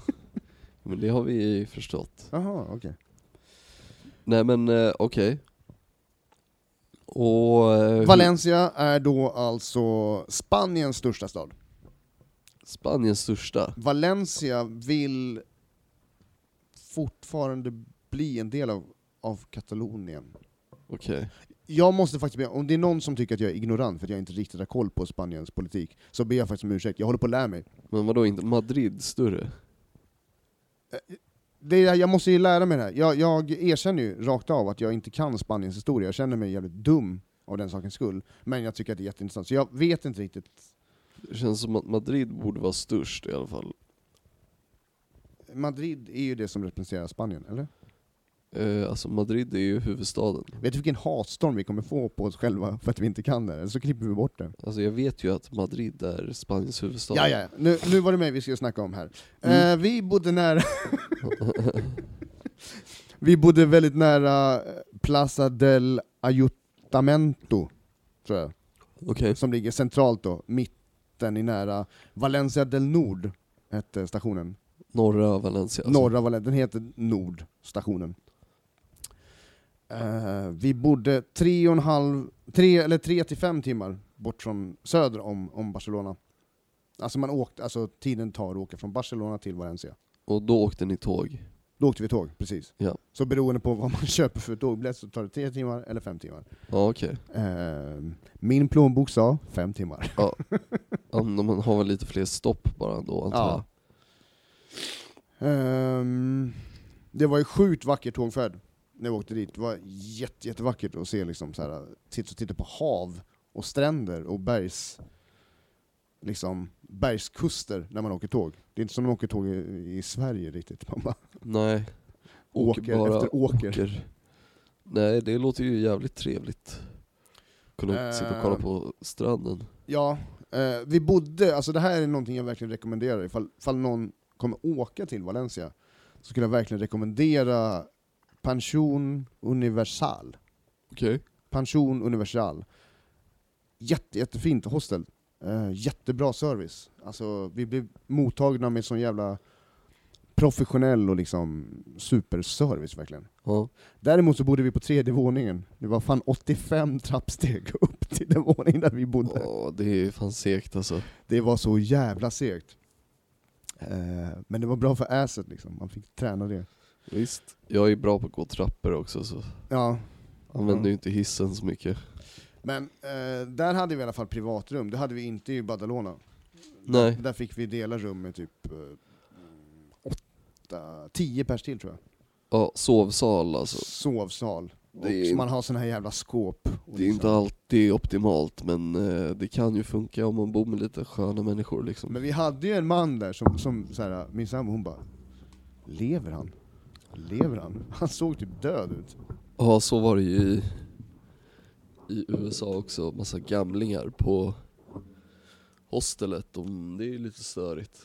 A: Men det har vi förstått.
B: Jaha, okej.
A: Nej men eh, okej. Och... eh, hur-
B: Valencia är då alltså Spaniens största stad.
A: Spaniens största.
B: Valencia vill fortfarande bli en del av, av Katalonien.
A: Okej.
B: Jag måste faktiskt be, om det är någon som tycker att jag är ignorant för att jag inte riktigt har koll på Spaniens politik, så ber jag faktiskt om ursäkt. Jag håller på att lära mig.
A: Men vadå, inte Madrid större?
B: Eh, Det är, jag måste ju lära mig det här. Jag, jag erkänner ju rakt av att jag inte kan Spaniens historia, jag känner mig jävligt dum av den sakens skull. Men jag tycker att det är jätteintressant, så jag vet inte riktigt.
A: Det känns som att Madrid borde vara störst i alla fall.
B: Madrid är ju det som representerar Spanien, eller?
A: Eh, alltså Madrid är ju huvudstaden.
B: Vet du vilken hatstorm vi kommer få på oss själva för att vi inte kan det? Eller så klipper vi bort det.
A: Alltså jag vet ju att Madrid är Spaniens huvudstad.
B: Ja, ja. Nu, nu var det mig vi skulle snacka om här.
A: Mm.
B: Eh, vi bodde nära... vi bodde väldigt nära eh, Plaza del Ayuntamiento, tror jag.
A: Okej.
B: som ligger centralt då, mitten i nära Valencia del Nord, hette stationen.
A: Norra Valencia. Alltså.
B: Norra Valencia, den heter Nord, stationen. Eh, vi bodde tre och en halv, tre eller tre till fem timmar bort från söder om, om Barcelona. Alltså man åkte, alltså tiden tar att åka från Barcelona till Valencia.
A: Och då åkte ni tåg.
B: Då åkte vi tåg, precis.
A: Ja.
B: Så beroende på vad man köper för tågbiljett så tar det tre timmar eller fem timmar.
A: Ja okej.
B: Eh, min plånbok sa fem timmar.
A: Ja, men man har väl lite fler stopp bara då antar
B: Ja.
A: jag.
B: Ehm, det var ju sjukt vacker tågfärd när vi åkte dit. Det var jätte, jättevackert att se liksom så här, titta, titta på hav och stränder och bergs, liksom, bergskuster när man åker tåg. Det är inte som när man åker tåg i, i Sverige riktigt. Man bara
A: Nej.
B: åker, efter åker.
A: åker. Nej, det låter ju jävligt trevligt. Kunna
B: Eh.
A: sitta och kolla på stranden.
B: Ja, eh, vi bodde, alltså det här är någonting jag verkligen rekommenderar, ifall, ifall någon kommer åka till Valencia, så skulle jag verkligen rekommendera Pension Universal.
A: Okej.
B: Pension Universal. Jätte, jättefint hostel. Eh, jättebra service. Alltså, vi blev mottagna med sån jävla professionell och liksom superservice verkligen.
A: Ja.
B: Däremot så bodde vi på tredje våningen. Det var fan 85 trappsteg upp till den våningen där vi bodde.
A: Ja, det är fan segt alltså.
B: Det var så jävla segt. Eh, men det var bra för asset liksom. Man fick träna det.
A: Visst. Jag är bra på att gå trappor också så
B: Ja,
A: använder
B: Ja.
A: ju inte hissen så mycket.
B: men eh, där hade vi i alla fall privatrum. Det hade vi inte i Badalona.
A: Nej.
B: Där fick vi dela rum med typ eh, mm, åtta, tio pers till tror jag.
A: Ja, sovsal alltså.
B: Sovsal. Och
A: Det är-
B: så man har såna här jävla skåp. och
A: Det är
B: liksom.
A: inte alltid optimalt men eh, det kan ju funka om man bor med lite sköna människor liksom.
B: Men vi hade ju en man där som, som så här, min sambo hon bara Lever han? Lever han? Han såg typ död ut.
A: Ja, så var det ju i, i USA också. Massa gamlingar på hostelet. De, det är ju lite störigt.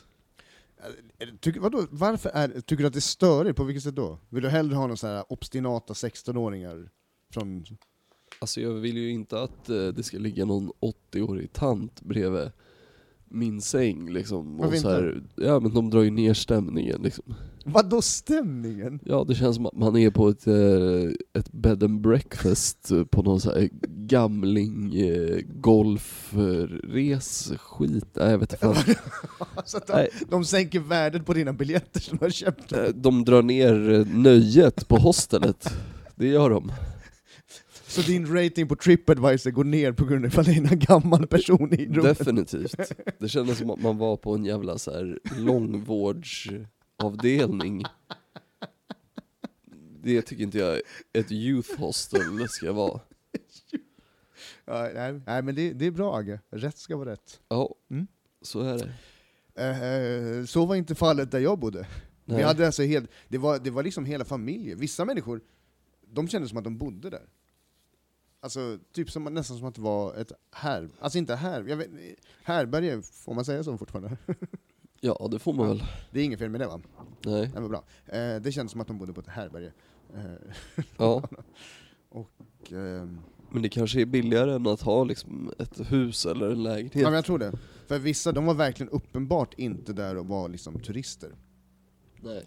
B: Tycker, vadå, varför är, tycker du att det är störigt? På vilket sätt då? Vill du hellre ha några så här obstinata 16-åringar? Från...
A: Alltså jag vill ju inte att eh, det ska ligga någon 80-årig tant bredvid min säng liksom.
B: Varför
A: Och så här, ja men de drar ju ner stämningen liksom.
B: Vadå stämningen?
A: Ja det känns som att man är på ett, eh, ett bed and breakfast eh, på någon så här gamling eh, golfres skit. Nej jag vet inte fan.
B: Alltså att de,
A: Nej.
B: de sänker värdet på dina biljetter som du har köpt.
A: Eh, De drar ner eh, nöjet på hostelet. Det gör de.
B: Så din rating på Tripadvisor går ner på grund av ifall det är en gammal person i rummet?
A: Definitivt. Det kändes som att man var på en jävla så här långvårdsavdelning. Det tycker inte jag ett youth hostel ska vara.
B: Ja, nej, nej, men det, det är bra Agge. Rätt ska vara rätt.
A: Ja,
B: Mm.
A: så är det.
B: Eh, eh, så var inte fallet där jag bodde. Vi
A: Nej.
B: hade alltså helt, det, var, det var liksom hela familjer. Vissa människor, de kände som att de bodde där. Alltså typ som, nästan som att det var ett här, alltså inte här, jag vet, härberge, får man säga så fortfarande?
A: Ja, det får man väl.
B: Det är inget fel med det va?
A: Nej.
B: Det var bra. Eh, det kändes som att de bodde på ett härberge. Eh,
A: Ja.
B: och, ehm,
A: Men det kanske är billigare än att ha liksom ett hus eller en lägenhet.
B: ja men jag tror det. För vissa, de var verkligen uppenbart inte där och var liksom turister.
A: Nej.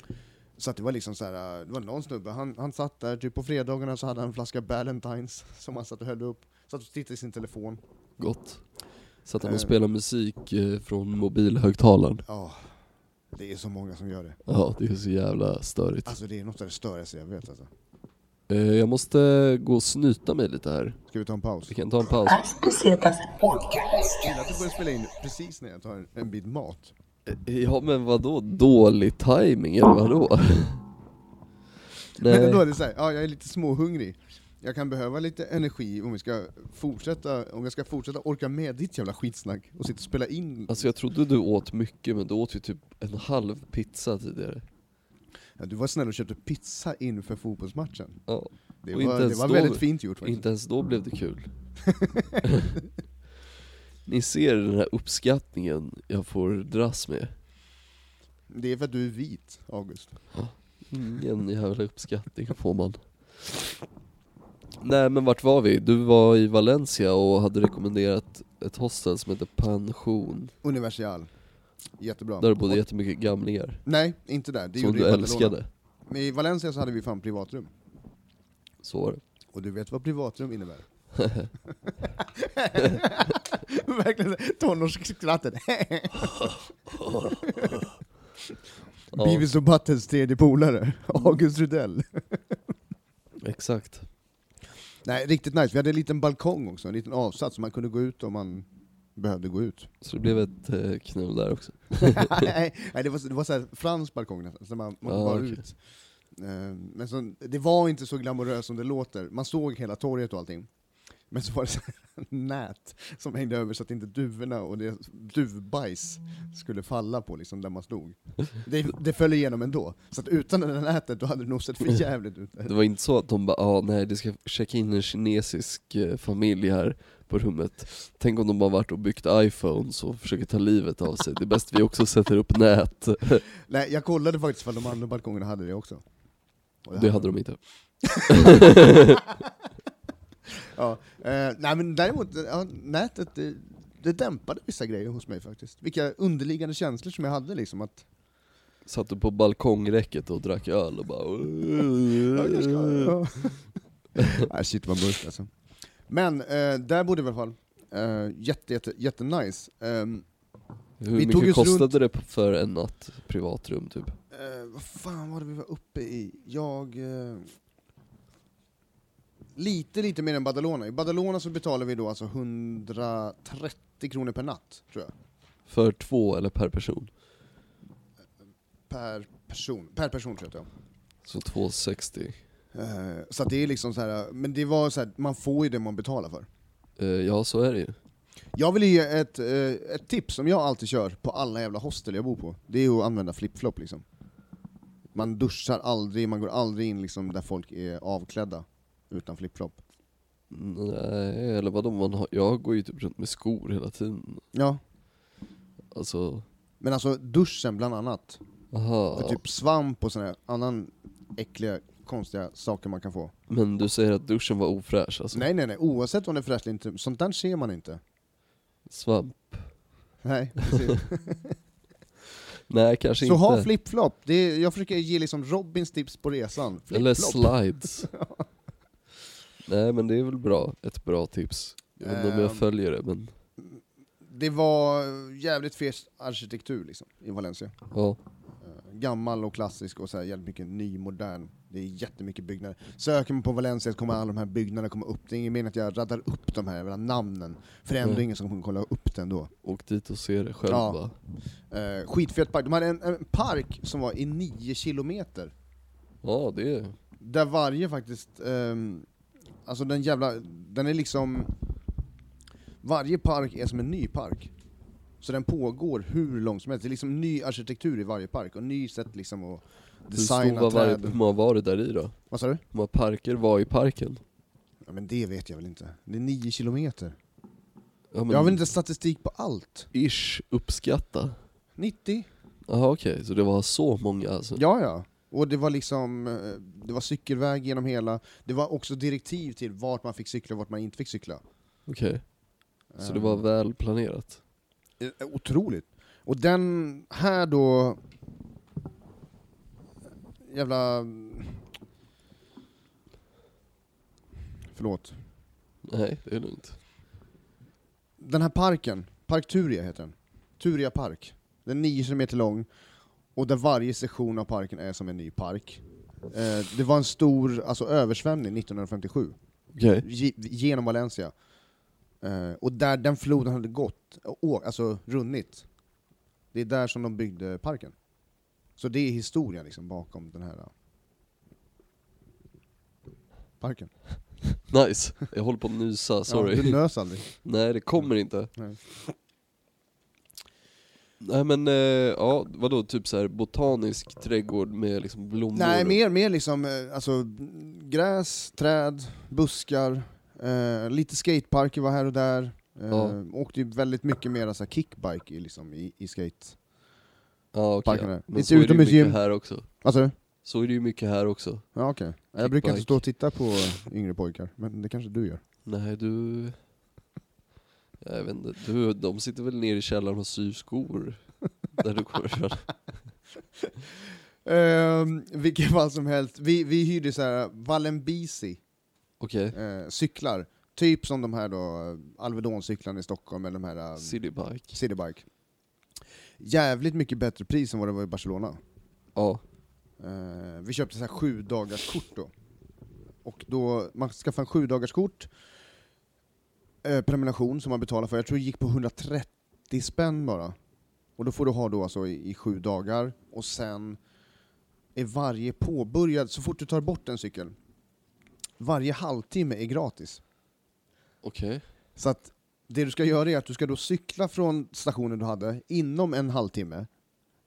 B: Så att det var liksom så här, eh, det var någon snubbe, han, han satt där, typ på fredagarna så hade han en flaska Ballantines som han satt och höll upp, satt och tittade i sin telefon.
A: Gott. Så att man
B: Eh.
A: spelar musik eh, från mobilhögtalaren.
B: Ja, det är så många som gör det.
A: Ja, det är så jävla störigt.
B: Alltså det är något av det störigaste jag vet alltså.
A: Eh, Jag måste gå och snyta mig lite här.
B: Ska vi ta en paus?
A: Vi kan ta en paus.
C: Aspecitas Podcast.
B: Kul att du börjar spela in precis när jag tar en, en bit mat.
A: Eh, Ja men vadå dålig timing eller vadå?
B: Men
A: Nej,
B: då är det så här, ja jag är lite småhungrig. Jag kan behöva lite energi om vi ska fortsätta, om jag ska fortsätta orka med ditt jävla skitsnack och sitta och spela in.
A: alltså jag trodde du åt mycket men du åt ju typ en halv pizza tidigare.
B: Ja, du var snäll och köpte pizza inför fotbollsmatchen.
A: Ja.
B: Det
A: Och
B: var,
A: inte
B: det
A: ens
B: var
A: då-
B: väldigt fint gjort faktiskt.
A: Inte ens då blev det kul. Ni ser den här uppskattningen jag får dras med.
B: Det är för att du är vit, August. Mm.
A: Ingen jävla uppskattning får man. Nej men vart var vi? Du var i Valencia och hade rekommenderat ett hostel som heter Pension.
B: Universal. Jättebra.
A: Där det bodde jättemycket gamlingar.
B: Nej, inte där. Det
A: Som
B: gjorde
A: du
B: jag i Barcelona.
A: älskade.
B: Men I Valencia så hade vi fan privatrum.
A: Så var det.
B: Och du vet vad privatrum innebär? Verkligen tonårsskrattet.
A: Ja.
B: Beavis och Buttheads tredje polare, August Rudell.
A: Exakt.
B: Nej, riktigt nice. Vi hade en liten balkong också, en liten avsats, så man kunde gå ut om man behövde gå ut.
A: Så det blev ett eh, knull där också.
B: Nej, det var, så- det var så här fransk balkong nästan, så man, man
A: Ja,
B: var
A: okej.
B: ut. Eh, Men så, det var inte så glamoröst som det låter, man såg hela torget och allting. Men så var det så här nät som hängde över så att inte duvorna och det duvbajs skulle falla på liksom där man stod. Det, det föll igenom ändå, så att utan det där nätet då hade det nog sett för jävligt ut.
A: Det var inte så att de bara ah, nej det ska checka in en kinesisk eh, familj här på rummet. Tänk om de bara varit och byggt iPhones och försöker ta livet av sig. Det är bäst vi också sätter upp nät.
B: Nej, jag kollade faktiskt ifall de andra balkongerna hade det också. Och
A: Det hade de inte.
B: Ja, eh, nej men däremot, eh, ja, nätet det, det dämpade vissa grejer hos mig faktiskt. Vilka underliggande känslor som jag hade liksom att...
A: Satt du på balkongräcket och drack öl och bara
B: Ja, jag ska, ja. nej shit vad mörkt alltså. Men eh, där bodde vi i alla fall. Eh, jätte, jätte, Ehm, jätte nice.
A: Hur
B: Vi tog
A: mycket
B: oss
A: kostade det för en natt privatrum typ?
B: Eh, vad fan var det vi var uppe i? Jag... Eh, lite, lite mer än Badalona. I Badalona så betalar vi då alltså 130 kronor per natt, tror jag.
A: För två eller per person?
B: Per person. Per person tror jag att det var.
A: Så 2,60.
B: Eh, Så att det är liksom så här, men det var så här, man får ju det man betalar för.
A: Eh, ja så är det ju.
B: Jag vill ge ett, eh, ett tips som jag alltid kör på alla jävla hostel jag bor på. Det är att använda flip-flop liksom. Man duschar aldrig, man går aldrig in liksom där folk är avklädda utan flipflop.
A: Nej, eller vadå, man har, jag går ju typ runt med skor hela tiden.
B: Ja,
A: Alltså,
B: men alltså duschen bland annat.
A: aha.
B: För typ svamp och sån här annan äckliga, konstiga saker man kan få.
A: Men du säger att duschen var ofräsch alltså?
B: Nej nej nej, oavsett om det är fräscht eller inte, sånt där ser man inte.
A: Svamp?
B: Nej, precis.
A: Nej, kanske
B: Så
A: inte.
B: ha flipflop, det är, jag försöker ge liksom Robins tips på resan. Flip
A: Eller slides. Nej men det är väl bra, ett bra tips. Jag vet inte om jag
B: Ehm.
A: följer det men,
B: Det var jävligt fet arkitektur liksom, i Valencia.
A: ja.
B: Eh, Gammal och klassisk och så här jävligt mycket ny, modern. Det är jättemycket byggnader. Söker man på Valencia så kommer alla de här byggnaderna komma upp. Det är ingen mening att jag raddar upp de här jävla namnen, för det är ändå
A: Mm.
B: ingen som kommer kolla upp det ändå.
A: Åk dit och se det själv
B: Ja.
A: va?
B: Eh, skitfet park. De hade en, en park som var i 9 kilometer.
A: Ja det är
B: Där varje faktiskt, ehm, alltså den jävla, den är liksom, varje park är som en ny park. Så den pågår hur långt som helst. Det är liksom ny arkitektur i varje park, och ny sätt liksom att
A: Hur stor
B: designa
A: var varje,
B: träd.
A: hur många var det där i då?
B: Vad sa du?
A: Hur många parker var i parken?
B: Ja, men det vet jag väl inte. Det är 9 kilometer.
A: Ja,
B: Jag har väl inte statistik på allt?
A: Ish, uppskatta.
B: 90?
A: Jaha okej, så det var så många alltså?
B: Ja, ja. Och det var liksom, eh, det var cykelväg genom hela, det var också direktiv till vart man fick cykla och vart man inte fick cykla.
A: Okej, så det var
B: Ehm.
A: väl planerat?
B: Eh, Otroligt. Och den här då... Jävla... Förlåt.
A: Nej, det är lugnt.
B: Den här parken, Park Turia heter den. Turia park. Den är 9 kilometer lång, och där varje sektion av parken är som en ny park. Eh, Det var en stor alltså, översvämning 1957,
A: Okej,
B: ge- genom Valencia. Eh, Och där den floden hade gått, å- alltså runnit, det är där som de byggde parken. Så det är historien liksom bakom den här eh, parken.
A: nice. Jag håller på att nysa, sorry.
B: Ja, du nös aldrig.
A: Nej, det kommer inte.
B: Mm. Nej.
A: Nej, men eh, ja, vadå, typ så här botanisk trädgård med liksom blommor?
B: Nej,
A: och-
B: mer, mer liksom eh, alltså, gräs, träd, buskar, eh, lite skateparker var här och där. Eh,
A: Ja.
B: Åkte ju väldigt mycket mer alltså, kickbike i, liksom, i, i skate.
A: Ja, okej.
B: parkerna. Lite
A: Men så är det ju
B: utomhusgym.
A: mycket här också.
B: Vad sa du?
A: Så är det ju mycket här också.
B: Ja, okej. Jag brukar inte
A: Kickbike.
B: stå och titta på yngre pojkar, men det kanske du gör.
A: Nej, du... Jag vet inte, du, de sitter väl nere i källaren och syr skor. Där du kommer ifrån.
B: Um, vilket fall som helst, vi, vi hyrde så här Valenbisi
A: Okej,
B: eh, cyklar, typ som de här då Alvedoncyklarna i Stockholm, eller de här eh,
A: citybike.
B: Citybike. Jävligt mycket bättre pris än vad det var i Barcelona.
A: Ja,
B: Eh, vi köpte så här sju dagars kort då. Och då, man skaffade en sju dagars kort, eh, prenumeration som man betalar för, jag tror det gick på 130 spänn bara. Och då får du ha då alltså i, i sju dagar, och sen är varje påbörjad, så fort du tar bort en cykel, varje halvtimme är gratis.
A: okej.
B: Så att det du ska göra är att du ska då cykla från stationen du hade inom en halvtimme,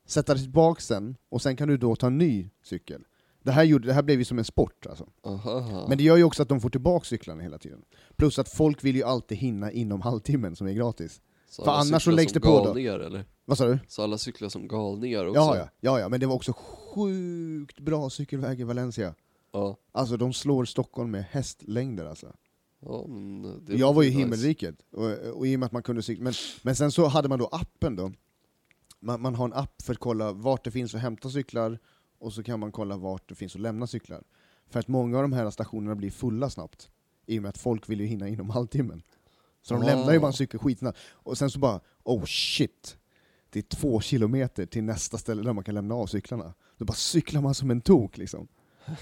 B: sätta dig tillbaka sen, och sen kan du då ta en ny cykel. Det här, gjorde, det här blev ju som en sport alltså.
A: Aha.
B: Men det gör ju också att de får tillbaka cyklarna hela tiden. Plus att folk vill ju alltid hinna inom halvtimmen som är gratis.
A: Så
B: för
A: alla
B: annars så
A: cyklar
B: läggs
A: som
B: det på då.
A: galningar, eller?
B: Vad sa du?
A: Så alla cyklar som galningar också?
B: Ja, ja, ja, ja, men det var också sjukt bra cykelväg i Valencia.
A: Ja,
B: Alltså de slår Stockholm med hästlängder alltså.
A: ja men det
B: Jag var ju i
A: nice.
B: himmelriket, och, och i och med att man kunde cykla, men, men sen så hade man då appen då. Man, man har en app för att kolla vart det finns att hämta cyklar, och så kan man kolla vart det finns att lämna cyklar. För att många av de här stationerna blir fulla snabbt, i och med att folk vill ju hinna inom halvtimmen. Så de
A: Ah.
B: lämnar ju bara en cykel skitsnabbt, och sen så bara oh shit, det är två kilometer till nästa ställe där man kan lämna av cyklarna. Då bara cyklar man som en tok liksom.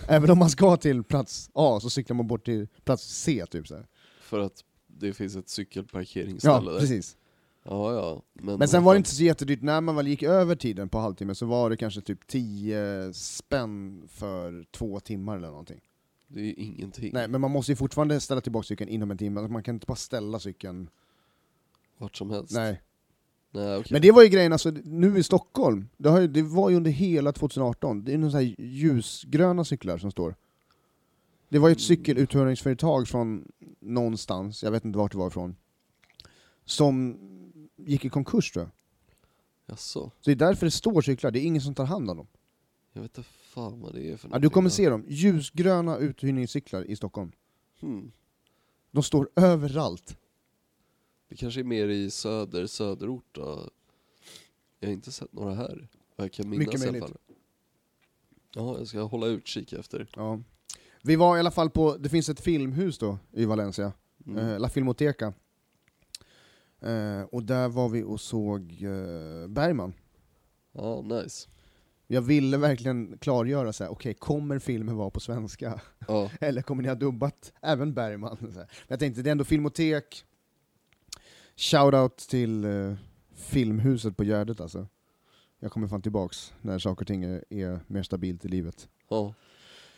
B: Även om man ska till plats A så cyklar man bort till plats C typ så här.
A: För att det finns ett cykelparkeringsställe
B: Ja,
A: där.
B: precis.
A: Ja, ja. Men,
B: Men sen var det inte så jättedyrt, när man väl gick över tiden på halvtimme så var det kanske typ 10 spänn för två timmar eller någonting.
A: Det är ju ingenting.
B: Nej, men man måste ju fortfarande ställa Alltså, tillbaka cykeln inom en timme, man kan inte bara ställa cykeln.
A: Vart som helst.
B: Nej.
A: Nej, okej.
B: Men det var ju grejen, alltså, nu i Stockholm, det, har ju, det var ju under hela 2018, det är några ljusgröna cyklar som står. Det var ju ett cykeluthyrningsföretag från någonstans, jag vet inte vart det var ifrån, som gick i konkurs då.
A: Jaså?
B: Så det är därför det står cyklar, det är ingen som tar hand om dem.
A: Jag vet inte fan vad det är för
B: Ja, du kommer
A: någonting.
B: se dem, ljusgröna uthyrningscyklar i Stockholm.
A: Hmm.
B: De står överallt.
A: Det kanske är mer i söder, söderort då. Jag har inte sett några här. Vad jag kan minnas
B: Mycket
A: i alla
B: möjligt.
A: fall. Ja, jag ska hålla utkik efter.
B: Ja. Vi var i alla fall på, det finns ett filmhus då i Valencia,
A: Mm.
B: eh, La Filmoteca. Eh, och där var vi och såg eh, Bergman.
A: Ja, nice.
B: Jag ville verkligen klargöra så här, okej, kommer filmen vara på svenska?
A: Ja,
B: Eller kommer ni ha dubbat även Bergman? Så här. Men jag tänkte, det är ändå Filmotek. Shoutout till eh, Filmhuset på Gärdet alltså. Jag kommer fan tillbaks när saker och ting är, är mer stabilt i livet.
A: ja.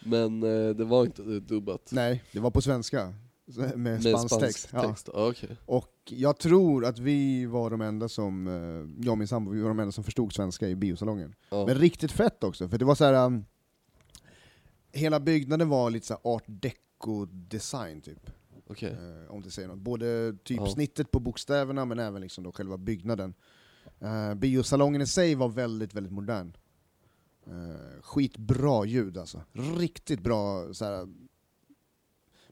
A: Men eh, det var inte dubbat.
B: Nej, det var på svenska. så- Med, spansk, text. Ja.
A: text. Ja. Okej.
B: Och jag tror att vi var de enda som, eh, jag och min sambo, vi var de enda som förstod svenska i biosalongen.
A: Ja.
B: Men riktigt fett också, för det var så här. um, hela byggnaden var lite så här art deco-design typ.
A: Okej.
B: Eh, om det säger något. Både
A: Ja.
B: typsnittet på bokstäverna men även liksom då själva byggnaden. Eh, biosalongen i sig var väldigt, väldigt modern. Eh, skitbra ljud alltså. Riktigt bra så här,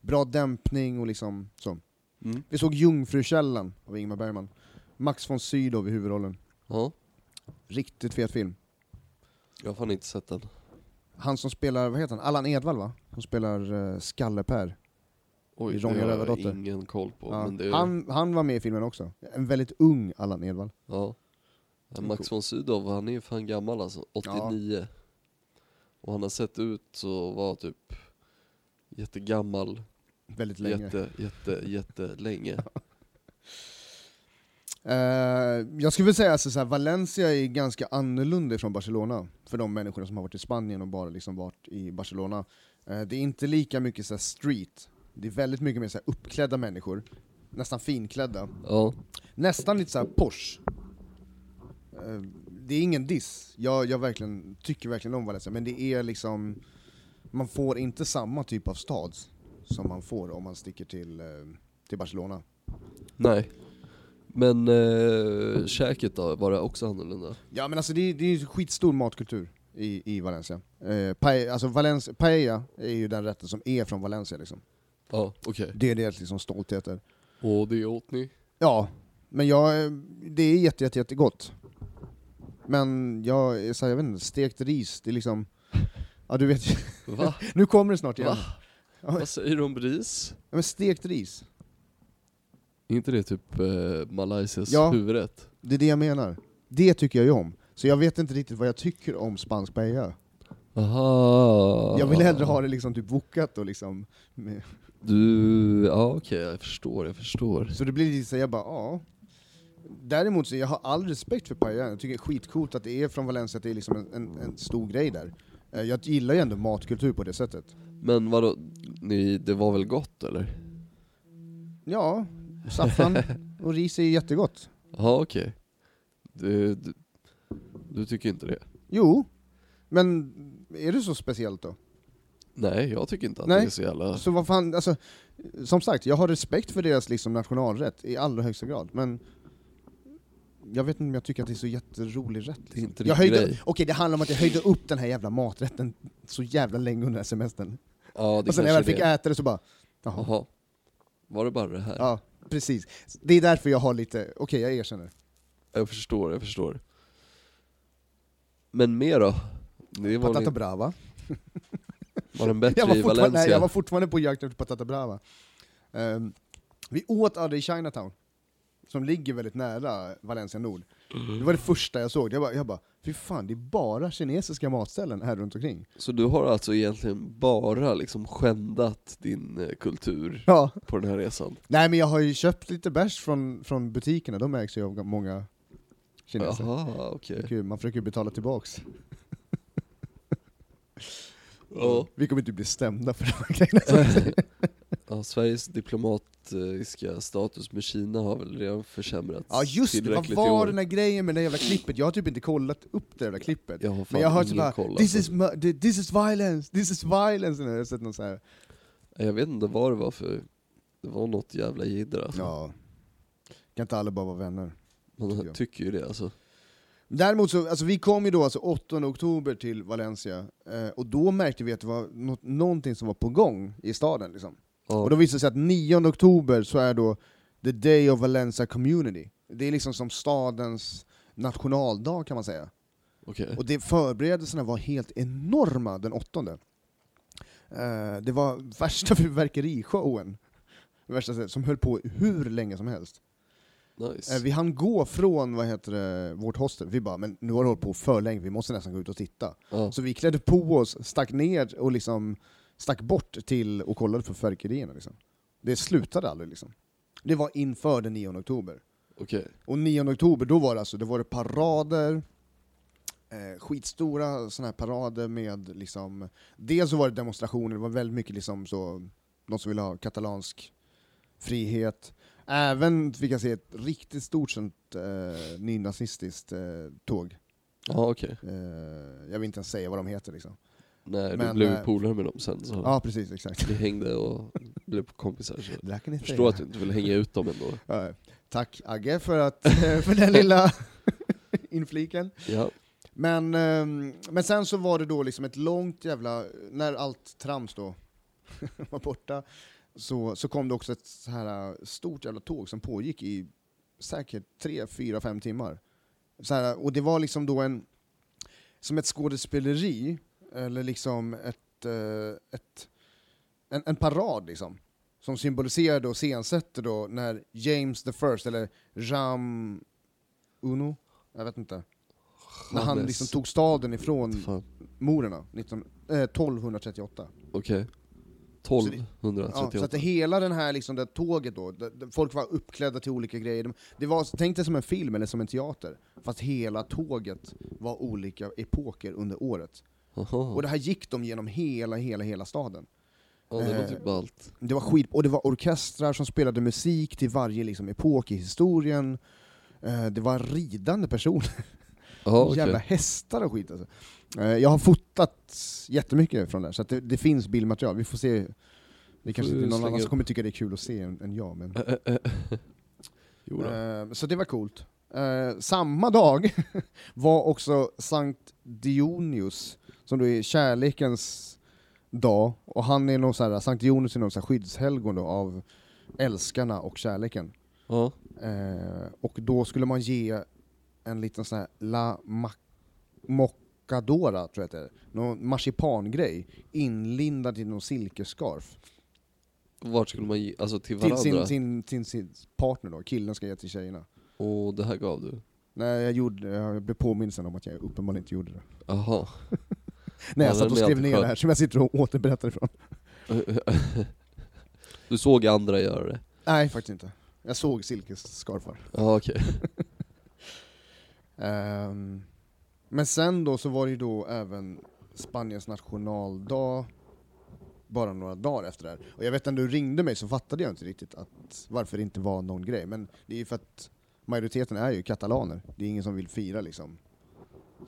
B: bra dämpning och liksom så.
A: Mm.
B: Vi såg Jungfrukällan av Ingmar Bergman. Max von Sydow i huvudrollen.
A: Ja.
B: Riktigt fet film.
A: Jag har fan inte sett den.
B: Han som spelar, vad heter han? Allan Edwall va? Som spelar uh, Skalle-Per.
A: Oj,
B: I Ronja
A: det har jag
B: Rövardotter.
A: ingen koll på.
B: Ja.
A: Men det,
B: han, han var med i filmen också. En väldigt ung Allan Edwall.
A: ja. Ja, Max von Sydow, han är ju fan gammal alltså. 89. Och han har sett ut och var typ jättegammal
B: Väldigt länge.
A: Jätte, jätte, jättelänge.
B: Eh, jag skulle vilja säga alltså, så här, Valencia är ganska annorlunda från Barcelona, för de människorna som har varit i Spanien och bara liksom varit i Barcelona. Eh, det är inte lika mycket så här, street, det är väldigt mycket mer så här, uppklädda människor, nästan finklädda.
A: Ja.
B: Nästan lite så här Porsche. Eh, Det är ingen diss, jag, jag verkligen, tycker verkligen om Valencia, men det är liksom, man får inte samma typ av stad som man får om man sticker till, eh, till Barcelona.
A: Nej. Men eh, käket då, var det också annorlunda?
B: Ja men alltså det, är- det är ju skitstor matkultur i, i Valencia. Eh, pae, alltså Valencia. Paella är ju den rätten som är från Valencia liksom.
A: Ja, okej.
B: Det är deras liksom stoltheter.
A: Och det åt ni?
B: Ja, men jag, eh, det är jätte, jätte, jättegott. Men jag, är så här, jag vet inte, stekt ris, det är liksom... Ja du vet ju.
A: Va?
B: nu kommer det snart igen.
A: Va? Vad säger du om ris?
B: Ja, men stekt ris,
A: Är inte det typ eh, Malaysias
B: Ja.
A: huvudrätt?
B: det är det jag menar. Det tycker jag ju om. Så jag vet inte riktigt vad jag tycker om spansk paella.
A: Aha.
B: Jag vill hellre ha det liksom typ vokat och liksom... Med,
A: Du, ja okej jag förstår, jag förstår.
B: Så det blir lite så här, jag bara, ja. Däremot så jag har all respekt för Paella, jag tycker det är skitcoolt att det är från Valencia, att det är liksom en, en, en stor grej där. Eh, Jag gillar ju ändå matkultur på det sättet.
A: Men vadå, ni, det var väl gott eller?
B: Ja, saffran och ris är ju jättegott.
A: Ja okej. Du, du, du tycker inte det?
B: Jo, men är det så speciellt då?
A: Nej, jag tycker inte att
B: Nej.
A: det är så jävla...
B: Så vad fan, alltså, som sagt, jag har respekt för deras liksom nationalrätt i allra högsta grad, men jag vet inte om jag tycker att det är så jätterolig rätt. liksom.
A: Det är inte din
B: Jag höjde,
A: grej.
B: okej, det handlar om att jag höjde upp den här jävla maträtten så jävla länge under den här semestern.
A: Ja, det
B: och sen när
A: kanske
B: jag
A: är
B: väl fick
A: det.
B: äta det så bara, jaha.
A: Jaha. Var det bara det här?
B: Ja, precis. Det är därför jag har lite, okej jag erkänner.
A: Jag förstår, jag förstår. Men mer då? Det var,
B: Patata
A: den,
B: brava.
A: var den bättre
B: Jag var,
A: i
B: fortfarande,
A: Valencia?
B: nej, jag var fortfarande på jakt efter patata brava. Ehm, vi åt aldrig i Chinatown, som ligger väldigt nära Valencia Nord. Det var det första jag såg, jag bara, jag bara fy fan det är bara kinesiska matställen här runt omkring.
A: Så du har alltså egentligen bara liksom skändat din eh, kultur
B: Ja.
A: på den här resan?
B: Nej men jag har ju köpt lite bärs från, från butikerna, de ägs ju av många kineser.
A: Jaha, okej.
B: Kul, Man försöker ju betala tillbaks.
A: Ja.
B: Vi kommer inte bli stämda för de här grejerna.
A: Ja, Sveriges diplomatiska status med Kina har väl redan försämrats
B: Ja just det, vad
A: tillräckligt i
B: var
A: år.
B: den där grejen med det jävla klippet? Jag har typ inte kollat upp det jävla klippet.
A: Jag har fan
B: Men jag har hört
A: ingen
B: såhär
A: koll,
B: this, is
A: alltså.
B: mur- thi- this is violence, this is violence, eller jag har sett någon så här.
A: Jag vet inte vad det var för, det var något jävla jidder alltså.
B: Ja. Kan inte alla bara vara vänner? tycker
A: Man
B: jag.
A: tycker ju det alltså.
B: Däremot så, alltså vi kom ju då alltså 8 oktober till Valencia, eh, och då märkte vi att det var något, någonting som var på gång i staden liksom.
A: Ja.
B: Och då visade det sig att 9 oktober så är då the day of Valencia community. Det är liksom som stadens nationaldag kan man säga.
A: Okej.
B: Och det, förberedelserna var helt enorma den åttonde. Eh, det var värsta fyrverkerishowen, värsta sätt, som höll på hur länge som helst.
A: Nice.
B: Eh, vi hann gå från vad heter det, vårt hostel, vi bara men nu har det hållit på för länge, vi måste nästan gå ut och titta.
A: ja.
B: Så vi klädde på oss, stack ner och liksom stack bort till och kollade på fyrverkerierna. Liksom. Det slutade aldrig liksom. Det var inför den 9 oktober.
A: Okej.
B: Och 9 oktober, då var det alltså, då var det parader, eh, skitstora såna här parader med liksom, dels så var det demonstrationer, det var väldigt mycket liksom så, de som ville ha katalansk frihet. Även fick jag se ett riktigt stort sånt eh, nynazistiskt eh, tåg.
A: Ja okej.
B: Eh, jag vill inte ens säga vad de heter liksom.
A: Nej, du
B: Men,
A: blev
B: eh,
A: ju polare med dem sen så.
B: Ja, precis, exakt.
A: Vi hängde och blev kompisar så.
B: Det där kan ni
A: Jag förstår att du inte vill hänga ut dem ändå.
B: Ja, Tack Agge för, att, eh, för den lilla infliken.
A: Ja.
B: Men, ehm, men sen så var det då liksom ett långt jävla, när allt trams då var borta, så, så kom det också ett så här äh, stort jävla tåg som pågick i säkert tre, fyra, fem timmar. Så här, och det var liksom då en, som ett skådespeleri, eller liksom ett, eh, ett en, en parad liksom, som symboliserar då, och iscensätter då när James the first, eller Jam Uno, jag vet inte, när han
A: James.
B: liksom tog staden ifrån
A: Fan.
B: morerna 19, eh, 1238.
A: Okej.
B: Så det-
A: 1238.
B: Ja, så att det hela den här liksom, det tåget då, det, det, folk var uppklädda till olika grejer. De- Det var, tänk dig som en film eller som en teater, fast hela tåget var olika epoker under året.
A: Aha.
B: Och det här gick de genom hela, hela, hela staden.
A: Ja, det typ
B: eh,
A: låter ju ballt.
B: Det var skit, och det var orkestrar som spelade musik till varje liksom, epok i historien. Eh, det var ridande personer,
A: Ja, okej.
B: jävla hästar och skit alltså. Eh, jag har fotat jättemycket från det här, så att det, det finns bildmaterial. Vi får se. Det kanske
A: Får
B: inte är någon
A: slänga
B: annan som
A: upp.
B: kommer tycka det är kul att se än, än jag, men...
A: Jo då.
B: Eh, så det var coolt. Eh, samma dag var också Sankt Dionius, som då är kärlekens dag, och han är någon så här, Sankt Dionius är någon så här skyddshelgon då, av älskarna och kärleken.
A: Ja.
B: Eh, och då skulle man ge en liten sån här La Mac- Mocadora, tror jag att det är, någon marsipangrej, inlindad i någon silkesscarf.
A: Vart skulle man ge, alltså till
B: Till
A: varandra?
B: sin, sin, till sin partner då, killen ska ge till tjejerna.
A: Och det här gav du?
B: Nej, jag, gjorde, jag blev påmind sen om att jag uppenbarligen inte gjorde det.
A: Aha.
B: Nej,
A: Ja,
B: jag satt
A: den
B: och
A: är
B: skrev
A: alltid
B: ner
A: skön.
B: det här som jag sitter och återberättar ifrån.
A: Du såg andra göra det?
B: Nej, faktiskt inte. Jag såg silkesscarfar.
A: Ja okej.
B: Ehm, men sen då så var det ju då även Spaniens nationaldag, bara några dagar efter det här. Och jag vet när du ringde mig så fattade jag inte riktigt att varför det inte var någon grej. Men det är ju för att majoriteten är ju katalaner. Det är ingen som vill fira liksom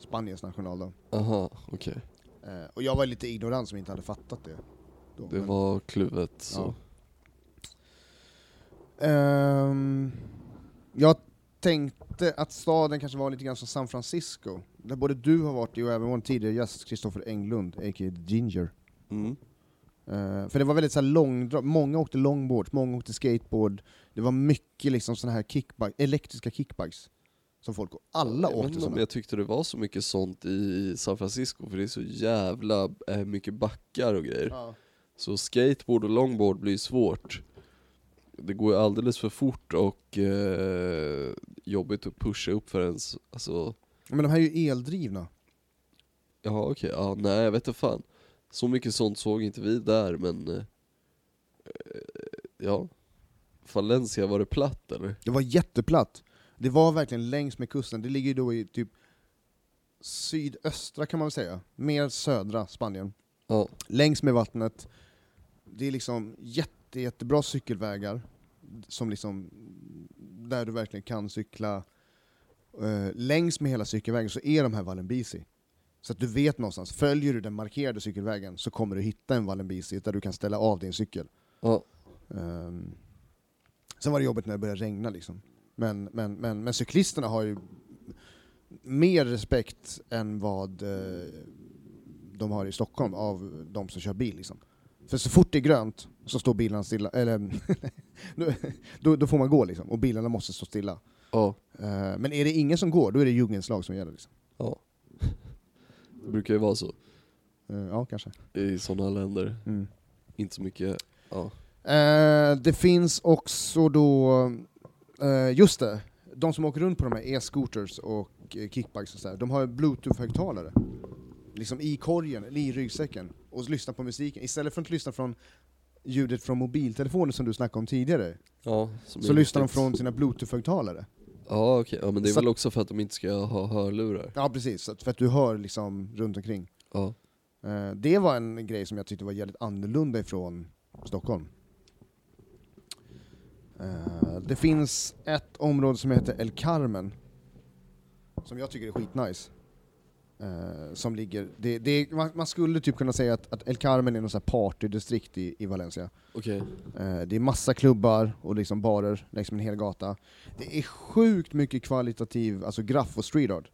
B: Spaniens nationaldag.
A: Aha, okej.
B: Eh, och jag var lite ignorant som inte hade fattat det. Då,
A: Det
B: men-
A: var kluvet så.
B: Ja. Ehm, jag tänkte att staden kanske var lite grann som San Francisco, där både du har varit i och även vår tidigare gäst Kristoffer Englund, a.k.a. Ginger.
A: Mm.
B: Eh, för det var väldigt så här långdra- många åkte longboard, många åkte skateboard, det var mycket liksom såna här kickbike, elektriska kickbikes som folk, och alla
A: jag vet
B: åkte
A: inte om
B: såna.
A: jag tyckte det var så mycket sånt i San Francisco för det är så jävla eh, mycket backar och grejer.
B: Ja.
A: Så skateboard och longboard blir svårt. Det går ju alldeles för fort och eh, jobbigt att pusha upp för ens, alltså,
B: Men de här är ju eldrivna.
A: ja okej, ja, nej jag vet inte fan. Så mycket sånt såg inte vi där men, eh, ja. Valencia, var det platt eller?
B: Det var jätteplatt. Det var verkligen längs med kusten. Det ligger ju då i typ sydöstra kan man väl säga, mer södra Spanien.
A: Ja,
B: längs med vattnet. Det är liksom jätte jätte, jättebra cykelvägar, som liksom, där du verkligen kan cykla eh, längs med hela cykelvägen, så är de här Wallenbici. Så att du vet någonstans, följer du den markerade cykelvägen så kommer du hitta en Wallenbici där du kan ställa av din cykel.
A: Ja.
B: Ehm, sen var det jobbigt när det började regna liksom. Men, men, men, men cyklisterna har ju mer respekt än vad eh, de har i Stockholm av de som kör bil liksom. För så fort det är grönt så står bilarna stilla, eller då- då, då får man gå liksom, och bilarna måste stå stilla.
A: Ja.
B: Eh, men är det ingen som går, då är det djungelns lag som gäller. Liksom.
A: Ja. Det brukar ju vara så
B: Eh, ja, kanske.
A: i sådana länder.
B: Mm.
A: Inte så mycket, ja.
B: Eh, det finns också då, eh, just det, de som åker runt på de här e-scooters och eh, kickbikes och sådär, de har ju bluetooth-högtalare. Liksom i korgen, eller i ryggsäcken, och lyssnar på musiken. Istället för att lyssna från ljudet från mobiltelefonen som du snackade om tidigare,
A: ja som
B: så
A: är
B: lyssnar de
A: viktigt.
B: från sina bluetooth-högtalare.
A: Ja okej, ja, men det är
B: Så-
A: väl också för att de inte ska ha hörlurar.
B: Ja precis, så att- för att du hör liksom runt omkring.
A: Ja.
B: Eh, Det var en grej som jag tyckte var jävligt annorlunda ifrån Stockholm. Eh, Det finns ett område som heter El Carmen, som jag tycker är skitnice. Eh, Som ligger, det, det, man, man skulle typ kunna säga att, att El Carmen är någon sån här partydistrikt i, i Valencia.
A: Okej.
B: Eh, Det är massa klubbar och liksom barer längs med en hel gata. Det är sjukt mycket kvalitativ, alltså graff och street art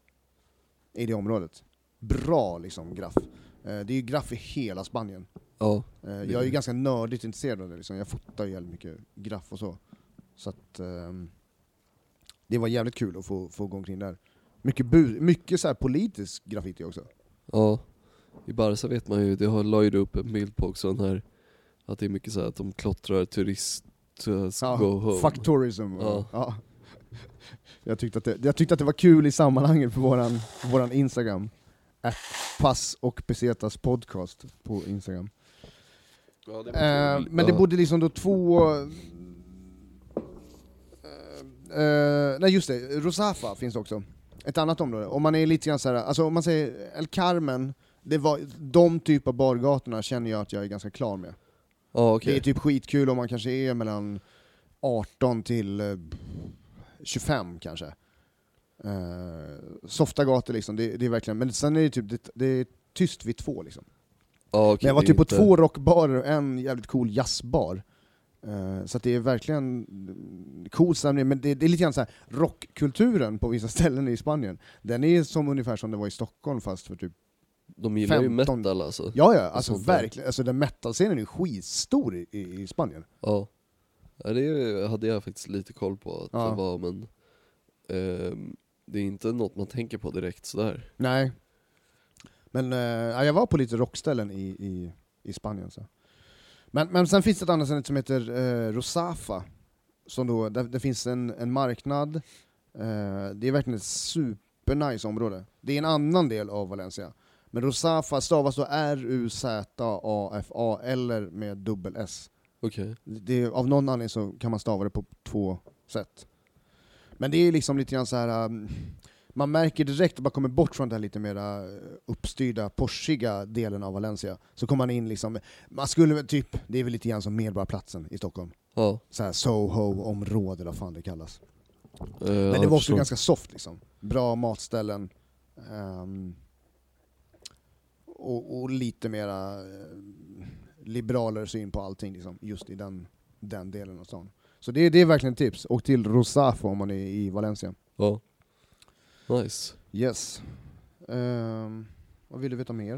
B: i det området. Bra liksom graff. Eh, Det är ju graff i hela Spanien.
A: Ja.
B: Eh, Jag är ju ganska nördigt intresserad av det, liksom. jag fotar ju jävligt mycket graff och så. Så att ehm, det var jävligt kul att få, få gå omkring där. Mycket, bu- mycket så här politisk graffiti också.
A: Ja. I Barca vet man ju, det har, la ju du upp en bild på också den här, att det är mycket så här att de klottrar turist, uh,
B: Ja,
A: go home.
B: Fuck tourism.
A: Ja.
B: Ja. Jag, tyckte att det, jag tyckte att det var kul i sammanhanget på våran, våran Instagram. Att pass och pesetas podcast på Instagram.
A: Ja, det var
B: Eh,
A: kul.
B: men det
A: Ja.
B: bodde liksom då två... Eh, eh, nej just det, Rosafa finns också. Ett annat område. Om man är lite grann såhär, alltså om man säger El Carmen, det var, de typ av bargatorna känner jag att jag är ganska klar med.
A: Ja
B: Det
A: okej.
B: är typ skitkul om man kanske är mellan 18 till eh, 25 kanske. Eh, softa gator liksom, det, det är verkligen, men sen är det typ, det, det är tyst vid två liksom.
A: Ja, okej,
B: Men jag var
A: det är
B: typ på
A: inte-
B: två rockbarer och en jävligt cool jazzbar. Eh, Så att det är verkligen mm, cool stämning, men det, det är lite grann så här rockkulturen på vissa ställen i Spanien, den är som ungefär som det var i Stockholm fast för typ
A: De gillar ju
B: 15.
A: metal alltså.
B: Ja, ja, alltså
A: sånt där.
B: verkligen, alltså den metal-scenen är skitstor i, i, i Spanien.
A: Ja. ja. Det hade jag faktiskt lite koll på att
B: Ja.
A: det var men ehm, det är inte något man tänker på direkt sådär.
B: Nej. Men eh, ja, jag var på lite rockställen i, i, i Spanien. Så. Men, men sen finns det ett annat ställe som heter eh, Rosafa. Som då, där, där finns en, en marknad. Eh, det är verkligen ett supernice område. Det är en annan del av Valencia. Men Rosafa stavas då R-U-Z-A-F-A eller med dubbel S.
A: Okej.
B: Det, av någon anledning så kan man stava det på två sätt. Men det är liksom lite grann så här. um, man märker direkt att man kommer bort från den här lite mera uh, uppstyrda, porsiga delen av Valencia. Så kommer man in liksom, man skulle väl typ, det är väl lite grann som Medborgarplatsen i Stockholm.
A: Ja.
B: Så här Soho-område, vad fan det kallas.
A: eh,
B: Men
A: jag
B: det var också
A: förstår.
B: ganska soft liksom. Bra matställen. ehm, och, och lite mera eh, liberalare syn på allting liksom, just i den, den delen av stan. Så det, det är verkligen ett tips. Åk till Rosafo om man är i Valencia.
A: Ja. Nice.
B: Yes. Ehm, vad vill du veta mer?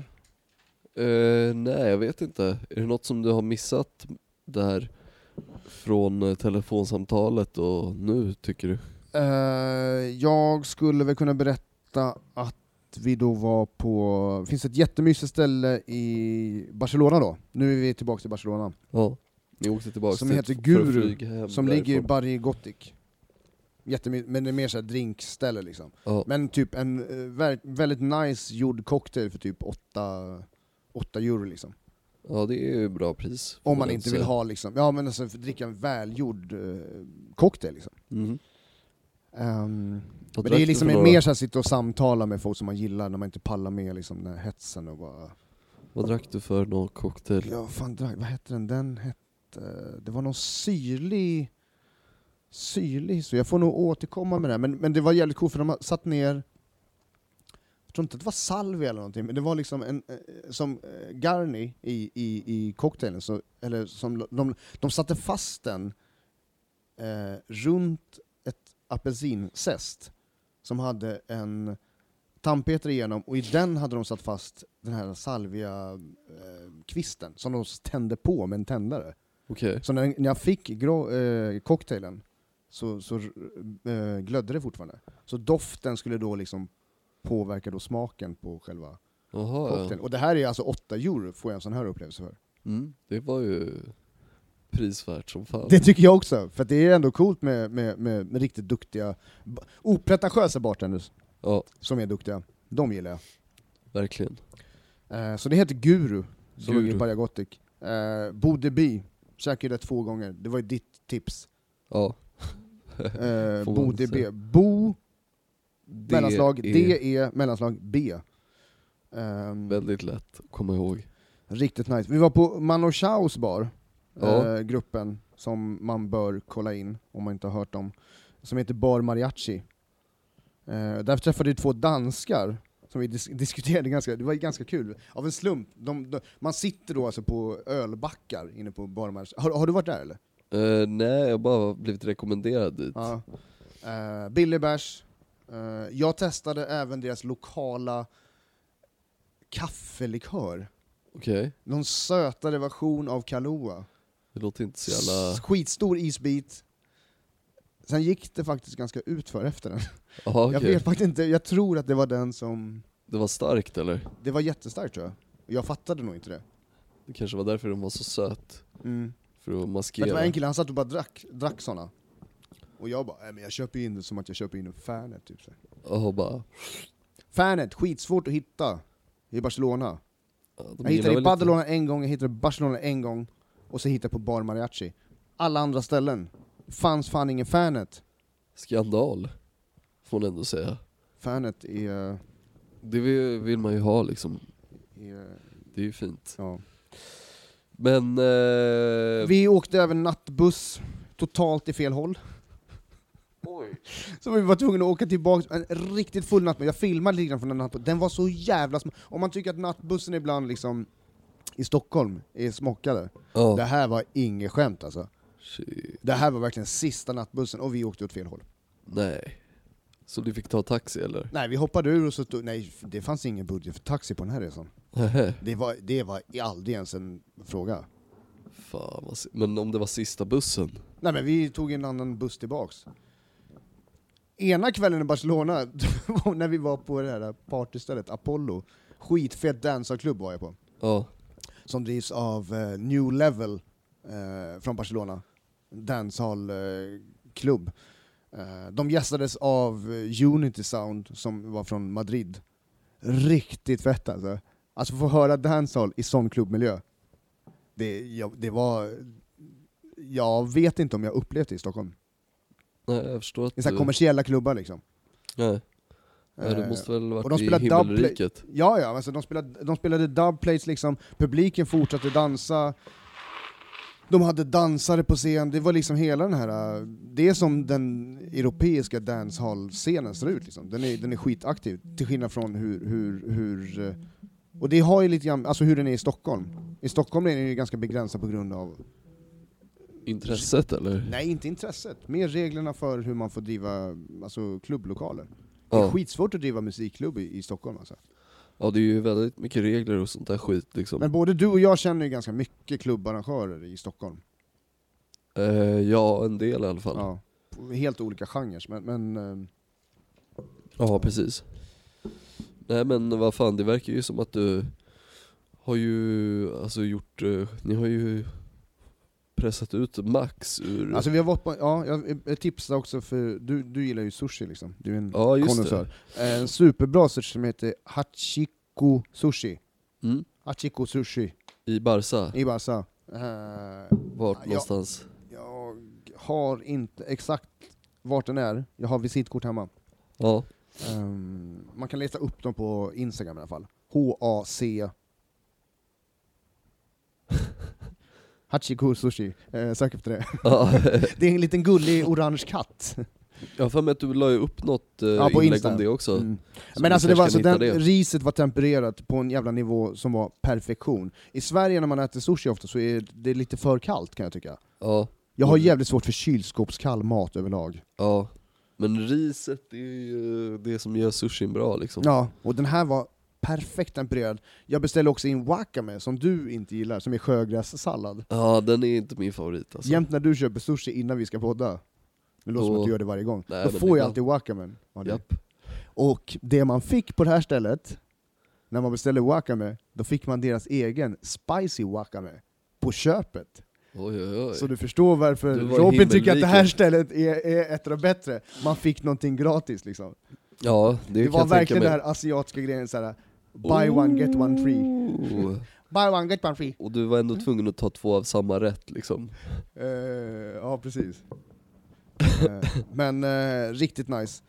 A: Eh, nej, jag vet inte. Är det något som du har missat där från eh, telefonsamtalet och nu tycker du?
B: Eh, jag skulle väl kunna berätta att vi då var på, det finns ett jättemysigt ställe i Barcelona då. Nu är vi tillbaka till Barcelona.
A: Ja. Ni åkte tillbaka
B: Som
A: till-
B: heter
A: för att
B: Guru,
A: flyga hem
B: Som ligger i
A: därifrån.
B: Barry Gothic. Jättemy- men det är mer såhär drinkställe liksom.
A: Ja.
B: Men typ en eh, ver- väldigt nice gjord cocktail för typ 8, 8 euro liksom.
A: ja, det är ju bra pris. får
B: Om man
A: väl
B: inte vill
A: säga.
B: ha liksom, ja men alltså för att dricka en välgjord eh, cocktail liksom.
A: Mhm.
B: Ehm,
A: Vad
B: men
A: drack
B: det
A: du
B: är liksom
A: för några-
B: mer såhär sitta och samtala med folk som man gillar när man inte pallar med liksom den här hetsen och bara
A: Vad drack du för någon cocktail?
B: Ja, fan drack, vad hette den? Den hette... att eh, det var någon syrlig, syrlig historia. Jag får nog återkomma med det här, men, men det var jävligt coolt för de har satt ner, jag tror inte att det var salvia eller någonting, men det var liksom en, eh, som eh, Garni i, i, i cocktailen, så, eller som de, de satte fast den eh, runt ett apelsinzest som hade en tandpetare igenom och i den hade de satt fast den här salvia-kvisten eh, som de tände på med en tändare.
A: Okej.
B: Så när, när jag fick grå, eh, cocktailen så, så eh, glödde det fortfarande. Så doften skulle då liksom påverka då smaken på själva
A: Jaha
B: cocktailen.
A: ja.
B: Och det här är alltså 8 euro får jag en sån här upplevelse för.
A: Mm. Det var ju prisvärt som fan.
B: Det tycker jag också, för att det är ändå coolt med, med, med, med riktigt duktiga, ba- opretentiösa bartenders
A: Ja,
B: som är duktiga. De gillar jag.
A: verkligen.
B: Eh, Så det heter Guru, som
A: Guru.
B: ligger i Berga Gothic. Eh, Bode by, käkade det två gånger, det var ju ditt tips.
A: Ja.
B: Eh,
A: man
B: Bode
A: säga.
B: B. Bo,
A: Det
B: mellanslag,
A: är
B: D, E, mellanslag, B. Ehm,
A: Väldigt lätt att komma ihåg.
B: riktigt nice. Vi var på Mano Chaos bar,
A: Ja.
B: eh, gruppen som man bör kolla in om man inte har hört dem, som heter Bar Mariachi. Eh, där träffade vi två danskar som vi dis- diskuterade ganska, det var ganska kul. Av en slump, de, de, man sitter då alltså på ölbackar inne på Bar Mariachi. Har, har du varit där eller?
A: Eh, nej, jag har bara blivit rekommenderad dit.
B: Ja. Eh, billig bärs. Eh, jag testade även deras lokala kaffelikör.
A: Okej,
B: Någon sötare version av Kahlua.
A: det låter inte så jävla...
B: Skitstor isbit. Sen gick det faktiskt ganska utför efter den.
A: Jaha
B: Jag
A: okej.
B: vet faktiskt inte, jag tror att det var den som...
A: Det var starkt eller?
B: Det var jättestarkt tror jag. Jag fattade nog inte det.
A: Det kanske var därför den var så söt.
B: Mm.
A: För att
B: För att det
A: maskera.
B: var en kille, han satt och bara drack, drack såna. Och jag bara, "Nej, men jag köper in det som att jag köper in en Fanet. Typ. så här.
A: Jaha bara...
B: Fanet, skitsvårt att hitta i Barcelona.
A: ja, de
B: Jag
A: gillar
B: hittade i
A: väl lite-
B: Badalona en gång, jag hittade i Barcelona en gång, och så hittade jag på Bar Mariachi. Alla andra ställen fanns fan ingen Fanet.
A: Skandal. Får man ändå säga.
B: Fanet är...
A: Det vill vill man ju ha liksom.
B: är
A: Det är ju fint.
B: eh, ja.
A: Men... Eh...
B: Vi åkte även nattbuss, totalt i fel håll.
A: Oj.
B: Så vi var tvungna att åka tillbaka, en riktigt full nattbuss. Jag filmade lite grann från den nattbussen, den var så jävla sm- Om man tycker att nattbussen ibland liksom i Stockholm är smockade,
A: Ja.
B: det här var inget skämt alltså.
A: Shit.
B: Det här var verkligen sista nattbussen, och vi åkte åt fel håll.
A: Nej. Så du fick ta taxi eller?
B: Nej, vi hoppade ur och så stod, nej det fanns ingen budget för taxi på den här resan.
A: Nähä.
B: Det var, det var aldrig ens en fråga.
A: Fan vad... si- Men om det var sista bussen?
B: Nej men vi tog en annan buss tillbaks. Ena kvällen i Barcelona, när vi var på det här partystället Apollo, skitfet dansarklubb var jag på,
A: Ja.
B: som drivs av eh, New Level eh, från Barcelona, dansalklubb. Eh, klubb. eh, de gästades av eh, Unity Sound som var från Madrid. Riktigt fett alltså. Alltså få höra dancehall i sån klubbmiljö. Det, jag, det var... Jag vet inte om jag upplevt det i Stockholm.
A: Nej jag förstår att
B: I så här
A: du...
B: kommersiella klubbar liksom.
A: Nej. Nej, Mm. du
B: Eh,
A: måste väl
B: och de
A: varit i
B: spelar dubplate-
A: himmelriket?
B: Ja, ja, alltså de spelade, de spelade dubplates liksom, publiken fortsatte dansa, de hade dansare på scen, det var liksom hela den här, eh, det är som den europeiska dancehall-scenen ser ut liksom. Den är, den är skitaktiv, till skillnad från hur, hur, hur eh, och det har ju lite grann, alltså hur den är i Stockholm. I Stockholm är den ju ganska begränsad på grund av,
A: Intresset eller?
B: nej inte intresset, mer reglerna för hur man får driva, alltså klubblokaler. Det är
A: Ja.
B: skitsvårt att driva musikklubb i, i Stockholm alltså.
A: ja, det är ju väldigt mycket regler och sånt där skit liksom.
B: Men både du och jag känner ju ganska mycket klubbarrangörer i Stockholm.
A: Eh, ja, en del i alla fall. Ja,
B: Ja. På Helt olika genrer, men, men eh,
A: precis. Nej men vad fan, det verkar ju som att du har ju alltså gjort, eh, ni har ju pressat ut max ur...
B: alltså vi har varit på, ja, jag jag tipsade också för du, du gillar ju sushi liksom, du är en
A: ja just det.
B: konnässör. Eh, En superbra sushi som heter Hachiko Sushi.
A: Mm.
B: Hachiko Sushi
A: I Barca,
B: i Barca. Eh,
A: vart
B: Ja.
A: någonstans?
B: jag har inte exakt vart den är, jag har visitkort hemma.
A: Ja,
B: Ehm, man kan leta upp dem på Instagram i alla fall. H-A-C Hachiko Sushi, eh, sök efter det.
A: Ja,
B: Det är en liten gullig orange katt.
A: jag har för mig att du la ju upp något eh,
B: Ja, på
A: inlägg
B: Insta.
A: om det också.
B: Mm.
A: Så
B: Men
A: vi
B: alltså det var,
A: kanske
B: alltså
A: kan
B: den,
A: hitta det.
B: riset var tempererat på en jävla nivå som var perfektion. I Sverige när man äter sushi ofta så är det lite för kallt kan jag tycka.
A: Ja,
B: Jag har
A: Mm.
B: jävligt svårt för kylskåpskall mat överlag.
A: ja. Men riset det är ju det som gör sushin bra liksom.
B: Ja, och den här var perfekt tempererad. Jag beställde också in wakame, som du inte gillar, som är sjögrässallad.
A: Ja, den är inte min favorit alltså.
B: Jämt när du köper sushi innan vi ska podda, det låter som
A: Då-
B: att du gör det varje gång,
A: Nej,
B: då
A: men
B: får jag
A: ibland.
B: alltid wakamen. av dig.
A: Japp.
B: Och det man fick på det här stället, när man beställde wakame, då fick man deras egen spicy wakame på köpet.
A: Oj, oj, oj.
B: Så du förstår varför
A: Du var
B: Robin tycker att det här
A: himmelriket.
B: stället är, är ett av de bättre. Man fick någonting gratis liksom.
A: ja, det,
B: Det,
A: kan
B: var
A: jag tänka
B: verkligen
A: mig.
B: den här asiatiska grejen såhär, buy one get one free.
A: Oh.
B: Buy one get one free.
A: Och du var ändå tvungen att ta två av samma rätt liksom.
B: Eh, ja, precis. Eh, men eh, riktigt nice.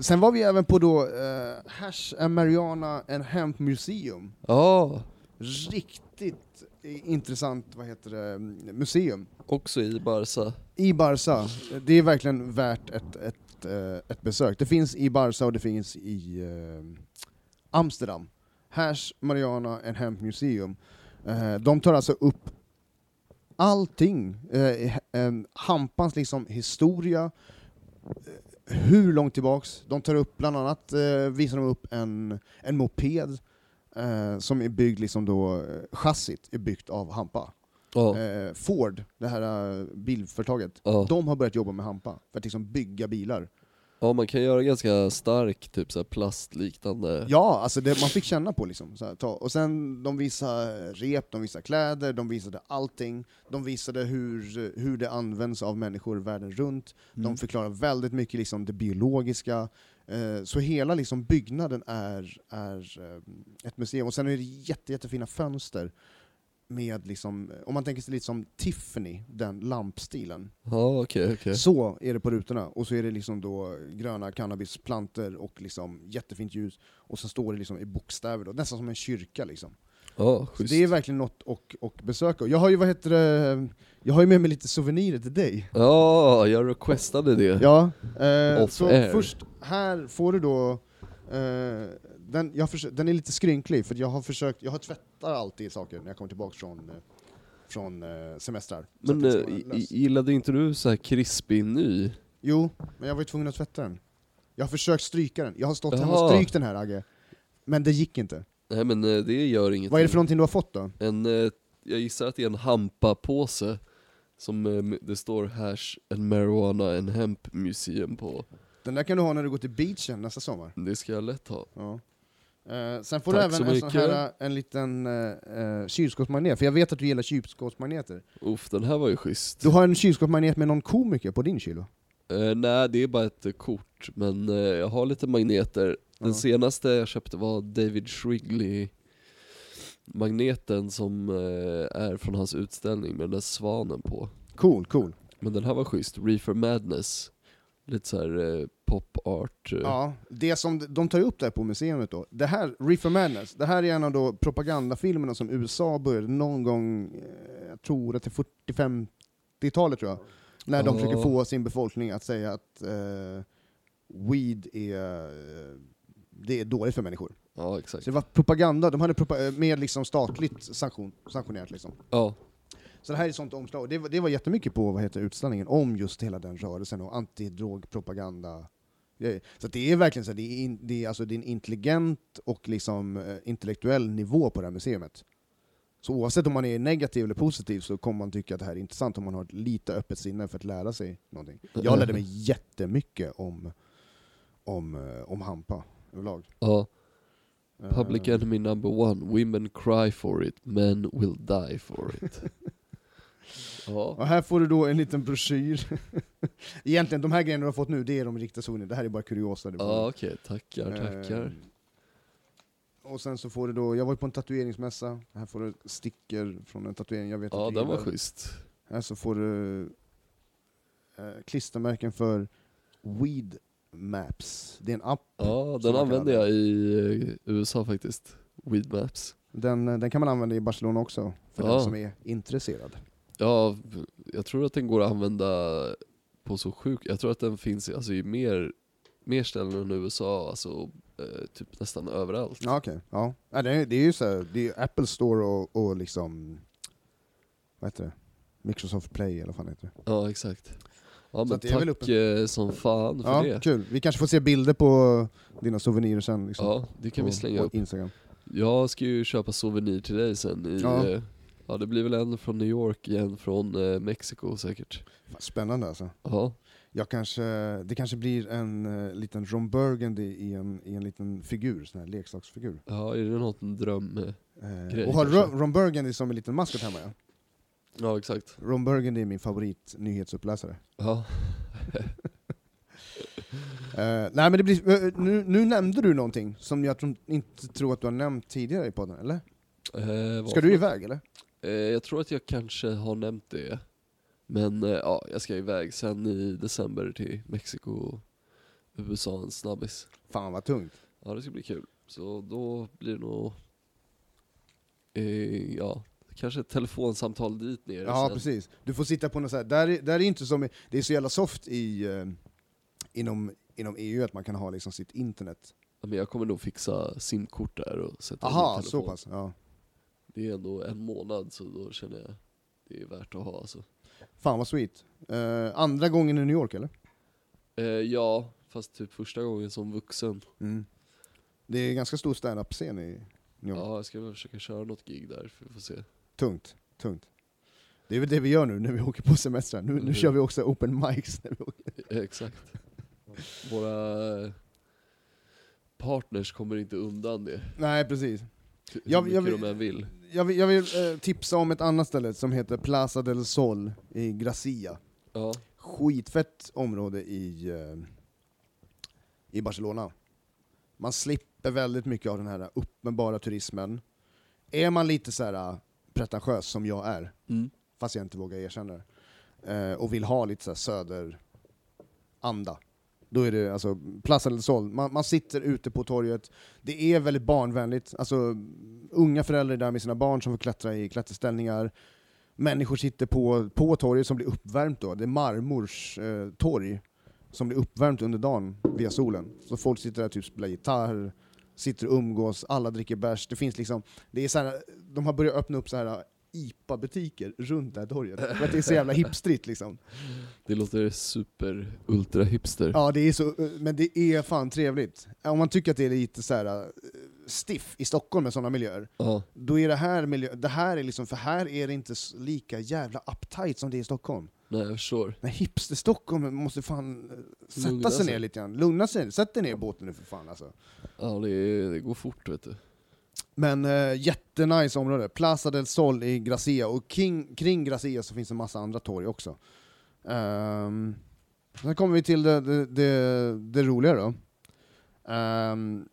B: Sen var vi även på då eh, Hash and Mariana and Hemp Museum.
A: Ja,
B: Riktigt i- intressant, vad heter det, museum.
A: också i Barca.
B: I Barca, det är verkligen värt ett, ett, eh, ett besök. Det finns i Barca och det finns i eh, Amsterdam. Hash Mariana and Hemp Museum. Eh, de tar alltså upp allting. Eh, he- eh, hampans liksom historia, eh, hur långt tillbaks. De tar upp bland annat, eh, visar de upp en, en moped eh, som är byggd liksom då, eh, chassit är byggt av hampa.
A: Ja,
B: Eh, Ford, det här eh, bilföretaget,
A: Ja.
B: de har börjat jobba med hampa för att liksom bygga bilar.
A: ja, man kan göra ganska stark typ så här plastliknande.
B: Ja, alltså det, man fick känna på liksom. Så här, ta. Och sen, de visade rep, de visade kläder, de visade allting. De visade hur, hur det används av människor världen runt. De förklarar väldigt mycket liksom, det biologiska. Eh, Så hela liksom byggnaden är, är eh, ett museum. Och sen är det jätte, jättefina fönster. Med liksom, om man tänker sig lite som Tiffany, den lampstilen.
A: Ja, okej, okej.
B: Så är det på rutorna, och så är det liksom då gröna cannabisplanter och liksom jättefint ljus, och sen står det liksom i bokstäver, då, nästan som en kyrka. Liksom.
A: Ja,
B: Så
A: schysst.
B: det är verkligen något att och besöka. Jag har ju vad heter det, jag har ju med mig lite souvenirer till dig.
A: Ja, jag requestade det.
B: Ja, eh,
A: Off
B: så
A: air.
B: först här får du då, eh, den, jag har försökt, den är lite skrynklig, för jag har försökt, jag har tvättar alltid saker när jag kommer tillbaka från, eh, från eh, semestrar. Så
A: Men
B: att det
A: eh,
B: ska vara
A: i-
B: löst.
A: gillade inte du så här krispig ny?
B: Jo, men jag var ju tvungen att tvätta den. Jag har försökt stryka den. Jag har stått hemma och
A: Jaha.
B: strykt den här Agge. Men det gick inte.
A: Nej men eh, det gör inget.
B: Vad är det för någonting du har fått då?
A: En, eh, jag gissar att det är en hampa-påse. Som eh, m- det står hash and marijuana and hemp museum på.
B: Den där kan du ha när du går till beachen nästa sommar.
A: Det ska jag lätt ha.
B: Ja. Eh, sen får
A: Tack
B: du
A: så
B: även en sån
A: mycket.
B: här, eh, en liten uh, kylskåpsmagnet, för jag vet att du gillar kylskåpsmagneter.
A: Uff, den här var ju schysst.
B: Du har en kylskåpsmagnet med någon komiker på din kyl va?
A: Eh, nej, det är bara ett eh, kort. Men eh, jag har lite magneter. Den
B: Ja.
A: senaste jag köpte var David Shrigley. Magneten som eh, är från hans utställning med den där svanen på.
B: Cool, cool.
A: Men den här var schysst, Reefer Madness. Lite så här eh, pop art. eh.
B: Ja, det som d- de tar upp där på museet då, det här, Reefer Madness, det här är en av då propagandafilmerna som USA började någon gång, eh, jag tror att det är 40-50-talet tror jag, när de
A: Ja.
B: försöker få sin befolkning att säga att eh, weed är, eh, det är dåligt för människor.
A: ja
B: Så
A: exakt.
B: det var propaganda, de hade propa- eh, med liksom statligt sanktion, sanktionerat liksom.
A: Ja,
B: Så det här är ett sånt omslag, Och det var, det var jättemycket på vad heter utställningen om just hela den rörelsen och antidrogpropaganda. grejer. Så att det är verkligen så, här, det är, in, det är alltså det är en intelligent och liksom eh, intellektuell nivå på det här museet. Så oavsett om man är negativ eller positiv så kommer man tycka att det här är intressant om man har ett lite öppet sinne för att lära sig någonting. Jag lärde mig jättemycket om, om, eh, om hampa överlag.
A: ja.
B: Eh,
A: Public Enemy number one, women cry for it, men will die for it. ja,
B: Och här får du då en liten broschyr. Egentligen, de här grejerna du har fått nu, det är de riktiga souvenirerna. Det här är bara kuriosa. du får.
A: ja okej, tackar,
B: Eh,
A: tackar.
B: Och sen så får du då, jag var ju på en tatueringsmässa, här får du sticker från en tatuering jag vet
A: Ja,
B: att du
A: den var
B: gillar.
A: schysst.
B: Här så får du eh, klistermärken för Weed Maps. Det är en app.
A: Ja,
B: som man
A: den
B: kan
A: använde jag i eh, USA faktiskt. Weed Maps.
B: Den, eh, den kan man använda i Barcelona också, för
A: Ja.
B: den som är intresserad.
A: Ja, jag tror att den går att använda på så sjuk... Jag tror att den finns i, alltså, i mer, mer ställen än USA, alltså eh, typ nästan överallt.
B: Ja, okej. Ja. Ja, det, är- det är ju så här, det är ju Apple Store och, och liksom, vad heter det? Microsoft Play eller vad fan heter det?
A: Ja, exakt. Ja men
B: att det är väl
A: tack eh, som fan för
B: Ja,
A: det.
B: kul. Vi kanske får se bilder på dina souvenirer sen. Liksom,
A: Ja, det kan
B: på,
A: vi slänga
B: på
A: upp.
B: Instagram.
A: Jag ska ju köpa souvenir till dig sen i...
B: Ja.
A: Ja. Ja det blir väl en från New York, en från eh, Mexiko säkert.
B: Fan, spännande alltså.
A: Ja,
B: Jag kanske, det kanske blir en eh, liten Ron Burgundy i en, i en liten figur, sån här leksaksfigur.
A: ja är det något en dröm? eh?
B: Eh,
A: Grej,
B: och har
A: kanske.
B: Ron, Ron Burgundy som en liten maskot hemma ja.
A: Ja exakt.
B: Ron Burgundy är min favorit nyhetsuppläsare.
A: Ja,
B: Eh, nej men det blir, eh, nu, nu nämnde du någonting som jag tror- inte tror att du har nämnt tidigare i podden, eller?
A: eh, vad
B: Ska du iväg eller?
A: Eh, jag tror att jag kanske har nämnt det. Men eh, ja, jag ska iväg sen i december till Mexiko och USA en snabbis.
B: Fan vad tungt.
A: Ja, det ska bli kul. Så då blir det nog, eh, ja, kanske ett telefonsamtal dit nere
B: Ja
A: sen.
B: precis. Du får sitta på något så här. Där, är- där är inte som, i- det är så jävla soft i, eh, inom, inom EU att man kan ha liksom sitt internet.
A: Ja, Men jag kommer nog fixa simkort där och sätta in
B: Aha,
A: min
B: så
A: telefon.
B: pass. Ja.
A: Det är ändå en månad så då känner jag det är värt att ha alltså.
B: Fan vad sweet. Eh, andra gången i New York eller?
A: Eh, ja, fast typ första gången som vuxen.
B: Mm. Det är ganska stor standup-scen i New York.
A: Ja, jag ska väl försöka köra något gig där, för vi får se.
B: Tungt, tungt. Det är väl det vi gör nu när vi åker på semestrar. Nu, nu
A: Mm.
B: kör vi också open mics när vi åker.
A: Exakt. Våra eh, partners kommer inte undan det.
B: Nej precis.
A: Hur
B: Jag-
A: mycket
B: jag vill-
A: de än vill.
B: Jag vill, jag vill eh, tipsa om ett annat ställe som heter Plaza del Sol i Gracia.
A: Ja,
B: Skitfett område i, eh, i Barcelona. Man slipper väldigt mycket av den här uppenbara turismen. Är man lite så här eh, pretentiös som jag är,
A: mm.
B: fast jag inte vågar erkänna det, eh, och vill ha lite så här söderanda. Då är det alltså Plaza del Sol. Man, man sitter ute på torget. Det är väldigt barnvänligt. Alltså, unga föräldrar är där med sina barn som får klättra i klätterställningar. Människor sitter på, på torget som blir uppvärmt då. Det är marmors eh, torg som blir uppvärmt under dagen via solen. Så folk sitter där typ spelar gitarr, sitter och umgås, alla dricker bärs. Det finns liksom, det är så här, de har börjat öppna upp så här IPA-butiker runt det här torget. För att det är så jävla hipstrigt liksom.
A: Det låter super ultra hipster.
B: Ja, det är så, eh, men det är fan trevligt. Om man tycker att det är lite så här eh, stiff i Stockholm med sådana miljöer,
A: Ja.
B: då är det här miljö, det här är liksom, för här är det inte s- lika jävla uptight som det är i Stockholm.
A: Nej jag förstår.
B: Nej, hipster-Stockholm måste fan eh, sätta
A: Lugna
B: sig ner
A: sig.
B: lite grann. Lugna sig ner. Sätt dig ner i båten nu för fan alltså.
A: Ja det, är, det går fort vet du.
B: Men eh, jättenice område. Plaza del Sol i Gracia, och kring, kring Gracia så finns en massa andra torg också. Um, sen kommer vi till det, det, det, det roliga då. Ehm,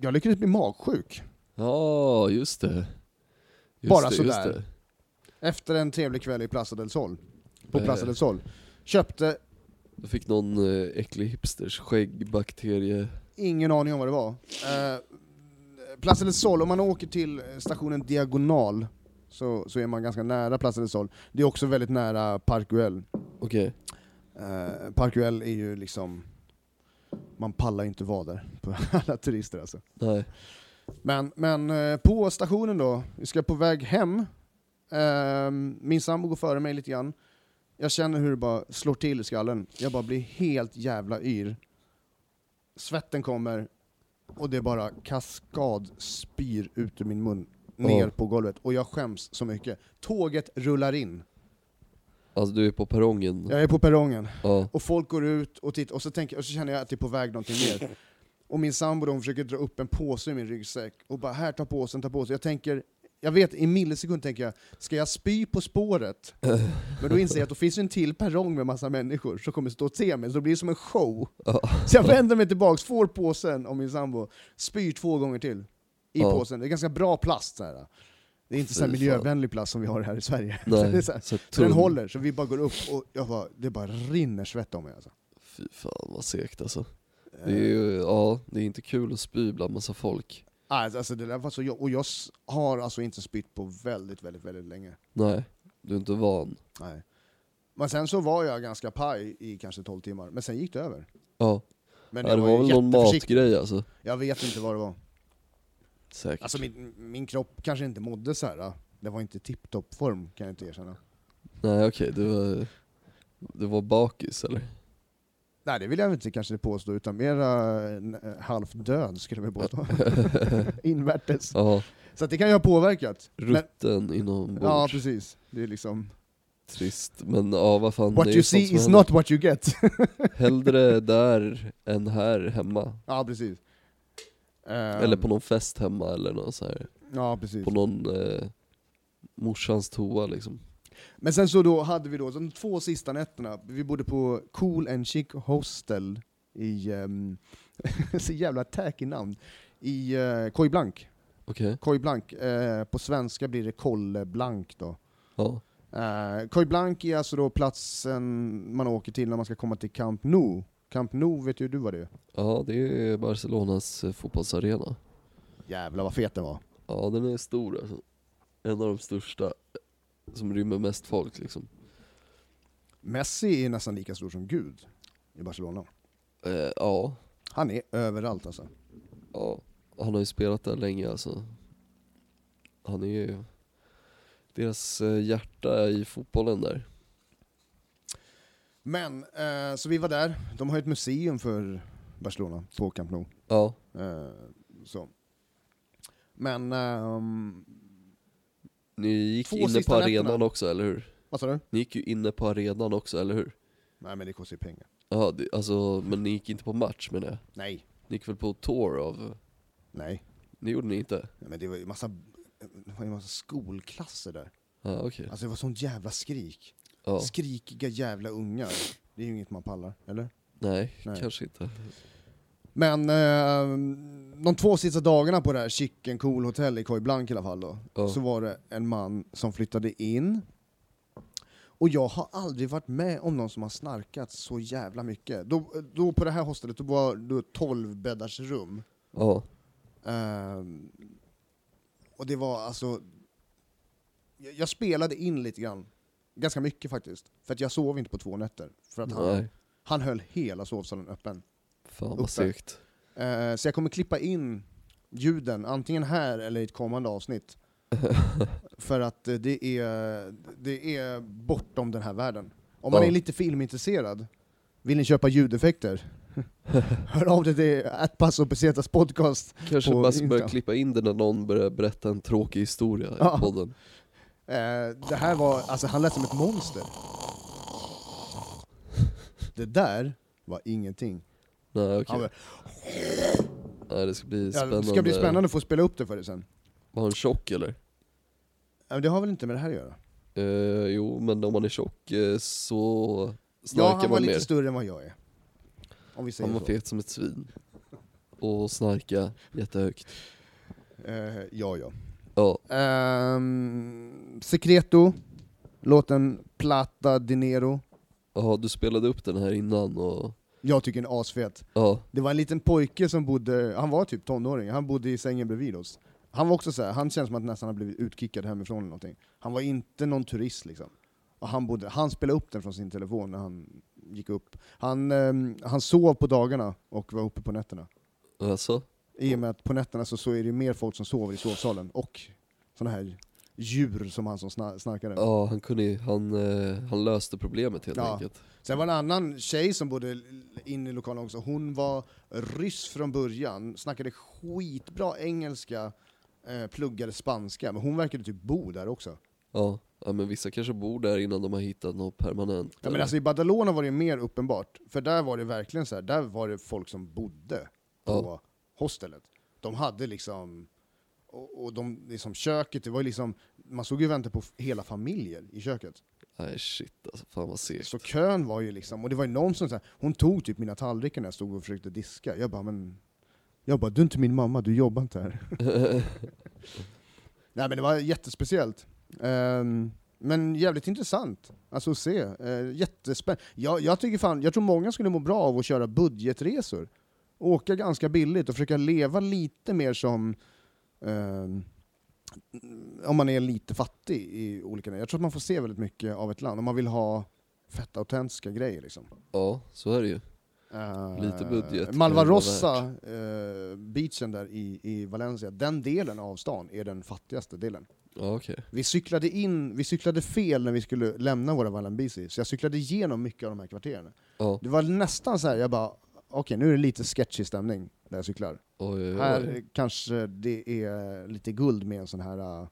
B: jag lyckades bli magsjuk
A: Ja just det. Just
B: Bara
A: det,
B: sådär.
A: Just det.
B: efter en trevlig kväll i Plaza del Sol. På
A: Eh.
B: Plaza del Sol. Köpte
A: Jag fick någon eh, äcklig hipsters skäggbakterie.
B: Ingen aning om vad det var. Eh, Plaza del Sol, om man åker till stationen Diagonal så, så är man ganska nära Plaza del Sol. Det är också väldigt nära Parkuel.
A: Okej.
B: Eh, Parkuel är ju liksom... Man pallar ju inte vara där, på alla turister alltså.
A: Nej.
B: Men, men eh, på stationen då, vi ska på väg hem. Eh, min sambo går före mig lite grann. Jag känner hur det bara slår till i skallen. Jag bara blir helt jävla yr. Svetten kommer och det är bara kaskad spyr ut ur min mun ner
A: Ja.
B: på golvet och jag skäms så mycket. Tåget rullar in.
A: Alltså du är på perrongen. Ja.
B: Jag är på perrongen
A: Ja.
B: och folk går ut och tittar och så, tänker, och så känner jag att det är på väg någonting mer. Och min sambo de försöker dra upp en påse i min ryggsäck och bara här, ta påsen, ta påsen. Jag tänker, jag vet i en millisekund tänker jag, ska jag spy på spåret? Men då inser jag att då finns det en till perrong med massa människor som kommer stå och se mig, så det blir som en show. Så jag vänder mig tillbaks, får påsen och min sambo spyr två gånger till i
A: Ja.
B: påsen. Det är ganska bra plast så här. Det är inte så här
A: Fy fan.
B: miljövänlig plast som vi har här i Sverige. Så det är
A: Nej.
B: så här,
A: Så
B: så
A: tunn.
B: den håller, så vi bara går upp och jag bara, det bara rinner svett om mig alltså. Eh,
A: Fy fan vad segt alltså. Det är ju, ja det är inte kul att spy bland massa folk.
B: Alltså, alltså det där var så, jag- och jag s- har alltså inte spytt på väldigt, väldigt, väldigt länge.
A: Nej, du är inte van.
B: Nej. Men sen så var jag ganska paj i kanske 12 timmar, men sen gick det över.
A: Ja,
B: Men
A: ja
B: jag
A: det var väl någon
B: jätteförsiktig.
A: matgrej alltså.
B: Jag vet inte vad det var.
A: Säkert.
B: Alltså min, min kropp kanske inte mådde så här. ah. Det var inte tipptopp form kan jag inte erkänna.
A: Nej okej, det var... Det var bakis eller?
B: Nej det vill jag inte kanske påstå, utan mera eh, halvdöd skulle jag vilja påstå. Invärtes.
A: Ja,
B: Så att det kan ju ha påverkat. Men,
A: rutten inombords.
B: ja precis, det är liksom...
A: Trist, men ja vad fan.
B: What
A: det är
B: you
A: sånt
B: see
A: som
B: is
A: händer.
B: not what you get.
A: Hellre där än här hemma.
B: ja precis. Ehm,
A: Eller på någon fest hemma eller något så här.
B: Ja precis.
A: På någon eh, morsans toa liksom.
B: Men sen så då hade vi då de två sista nätterna, vi bodde på Cool and Chic Hostel i, ehm, så jävla tacky namn, i uh, Koy Blank.
A: Okej,
B: Koy Blank, eh, på svenska blir det Kolle Blank då.
A: ja.
B: Uh, Koy Blank är alltså då platsen man åker till när man ska komma till Camp Nou. Camp Nou vet ju du vad det är?
A: Ja, det är Barcelonas eh, fotbollsarena.
B: Jävlar vad fet den var.
A: Ja, den är stor alltså. En av de största eh, som rymmer mest folk liksom.
B: Messi är nästan lika stor som Gud i Barcelona.
A: Eh, ja,
B: Han är överallt alltså.
A: ja, han har ju spelat där länge alltså. Han är ju... Deras eh, hjärta är i fotbollen där.
B: Men, eh, så vi var där. De har ju ett museum för Barcelona på Camp Nou.
A: Ja,
B: Eh, så. Men, ehm,
A: ni gick
B: Två
A: inne på
B: sista
A: arenan
B: nätterna.
A: också, eller hur?
B: vad sa du?
A: Ni gick ju inne på arenan också, eller hur?
B: Nej men det kostar ju pengar.
A: Ja, det- alltså, men ni gick inte på match menar jag.
B: Nej,
A: Ni gick väl på tour av...
B: nej.
A: Det gjorde ni inte?
B: Nej, Men det var ju massa, det var ju massa skolklasser där.
A: Ja, okej.
B: Alltså det var sånt jävla skrik.
A: Ja,
B: Skrikiga jävla ungar. Det är ju inget man pallar, eller?
A: nej,
B: Nej.
A: kanske inte.
B: Men eh, de två sista dagarna på det här Chicken Cool Hotel i Koh Blanc i alla fall då,
A: Ja.
B: så var det en man som flyttade in. Och jag har aldrig varit med om någon som har snarkat så jävla mycket. Då, då på det här hostelet då var det 12 bäddars rum.
A: Ja,
B: Ehm, och det var alltså... Jag, jag spelade in lite grann. Ganska mycket faktiskt. För att jag sov inte på två nätter. För att han,
A: nej.
B: han höll hela sovsalen öppen.
A: Fan
B: Uppe.
A: vad segt.
B: Eh, så jag kommer klippa in ljuden, antingen här eller i ett kommande avsnitt. För att eh, det är, det är bortom den här världen. Om man
A: Ja.
B: är lite filmintresserad, vill ni köpa ljudeffekter? Hör av dig till Atpasso Pesetas podcast.
A: Kanske
B: på
A: bara ska börja
B: Instagram.
A: klippa in det när någon börjar berätta en tråkig historia
B: Ja.
A: i podden.
B: Eh, det här var, alltså han lät som ett monster. Det där var ingenting.
A: Nej okej,
B: Han bara,
A: nej det ska bli
B: Ja,
A: spännande.
B: det ska bli spännande att få spela upp det för dig sen.
A: Var han tjock eller?
B: Eh, Det har väl inte med det här att göra?
A: Eh, jo men om man är tjock eh, så
B: Ja,
A: snarkar
B: han var
A: man
B: lite
A: mer.
B: större än vad jag är. Om vi säger
A: Han var
B: så.
A: fet som ett svin. Och snarka jättehögt.
B: Eh, ja, ja.
A: Ja,
B: Ehm, Secreto, låten Plata Dinero.
A: jaha du spelade upp den här innan och
B: Jag tycker den är asfet.
A: ja,
B: Det var en liten pojke som bodde, han var typ tonåring, han bodde i sängen bredvid oss. Han var också så här, han känns som att nästan har blivit utkickad hemifrån eller någonting. Han var inte någon turist liksom. Och han, bodde, han spelade upp den från sin telefon när han gick upp. Han, ehm, han sov på dagarna och var uppe på nätterna.
A: alltså,
B: I och med att på nätterna så, så är det ju mer folk som sover i sovsalen och sådana här djur som han som snar- snarkade.
A: ja han kunde ju- han, eh, han löste problemet helt
B: Ja.
A: enkelt.
B: Sen var det en annan tjej som bodde inne i lokalen också, hon var ryss från början, snackade skitbra engelska, eh, pluggade spanska, men hon verkade typ bo där också.
A: Ja. ja, men vissa kanske bor där innan de har hittat något permanent.
B: Ja, men alltså i Badalona var det mer uppenbart, för där var det verkligen så här, där var det folk som bodde på hostelet. De hade liksom, och, och de, liksom köket, det var ju liksom, man såg ju vänta på f- hela familjer i köket.
A: Nej shit alltså, fan vad segt.
B: Så kön var ju liksom, och det var ju någon som så här, hon tog typ mina tallrikar när jag stod och försökte diska. Jag bara, men... Jag bara, du är inte min mamma, du jobbar inte här. Nej men det var jättespeciellt. Ehm, men jävligt intressant, alltså att se. Uh, jättespännande. Jag, jag tycker fan, jag tror många skulle må bra av att köra budgetresor. Åka ganska billigt och försöka leva lite mer som ehm, om man är lite fattig i olika länder. Jag tror att man får se väldigt mycket av ett land, om man vill ha fett autentiska grejer. Liksom.
A: Ja, så är det ju.
B: Eh,
A: Lite budget
B: Malva
A: kan vara
B: Rosa, eh, beachen där i, i Valencia, den delen av stan är den fattigaste delen.
A: Ja, okej.
B: Vi cyklade in, vi cyklade fel när vi skulle lämna våra Valambisi, så jag cyklade igenom mycket av de här kvarteren.
A: Ja,
B: Det var nästan så här, jag bara, okej nu är det lite sketchy stämning när jag cyklar.
A: oj, oj,
B: Här
A: oj.
B: eh, kanske det är lite guld med en sån här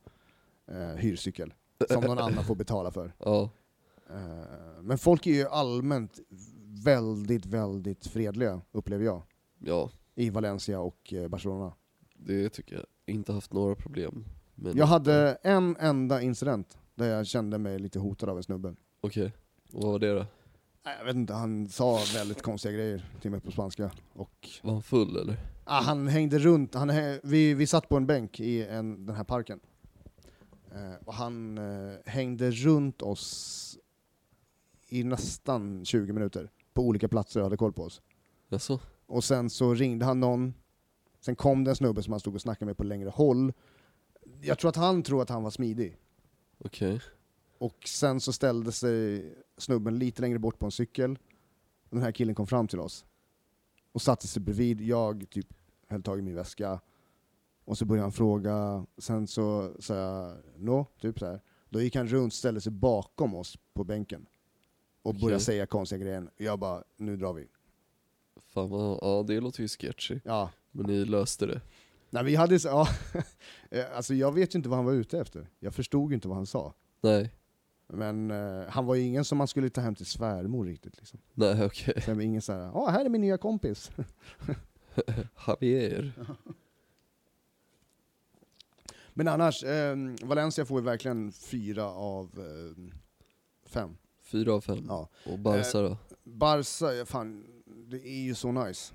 B: eh, hyrcykel, som någon annan får betala för.
A: Ja,
B: Eh, men folk är ju allmänt väldigt, väldigt fredliga, upplever jag,
A: ja,
B: i Valencia och eh, Barcelona.
A: det tycker jag. Inte haft några problem. Men,
B: Jag hade en enda incident där jag kände mig lite hotad av en snubbe.
A: Okej, och vad var det då?
B: Nej, Jag vet inte, han sa väldigt konstiga grejer till mig på spanska. Och
A: Var han full eller?
B: Ah, han hängde runt, han, hä- vi, vi satt på en bänk i en, den här parken. Eh, och han eh, hängde runt oss i nästan 20 minuter på olika platser och hade koll på oss.
A: Jaså?
B: Och sen så ringde han någon, sen kom det en snubbe som han stod och snackade med på längre håll. Jag tror att han tror att han var smidig.
A: Okej.
B: Och sen så ställde sig snubben lite längre bort på en cykel. Och den här killen kom fram till oss. Och satte sig bredvid. Jag typ höll tag i min väska. Och så började han fråga. Sen så sa jag no, typ så här. Då gick han runt, ställde sig bakom oss på bänken. Och började
A: Okej.
B: säga konstiga grejer. Jag bara, nu drar vi.
A: Fan vad, ja det låter ju sketchy.
B: Ja.
A: Men ni löste det.
B: Nej, vi hade så, ja. Eh, alltså jag vet ju inte vad han var ute efter. Jag förstod ju inte vad han sa.
A: Nej,
B: Men eh, han var ju ingen som man skulle ta hem till svärmor riktigt liksom.
A: nej okej.
B: Det var ingen så här, ja här är min nya kompis.
A: Javier.
B: Men annars, eh, Valencia får ju verkligen fyra av eh, fem.
A: Fyra av fem.
B: Ja. Eh.
A: Och Barca då?
B: Barca, ja, fan, det är ju så nice.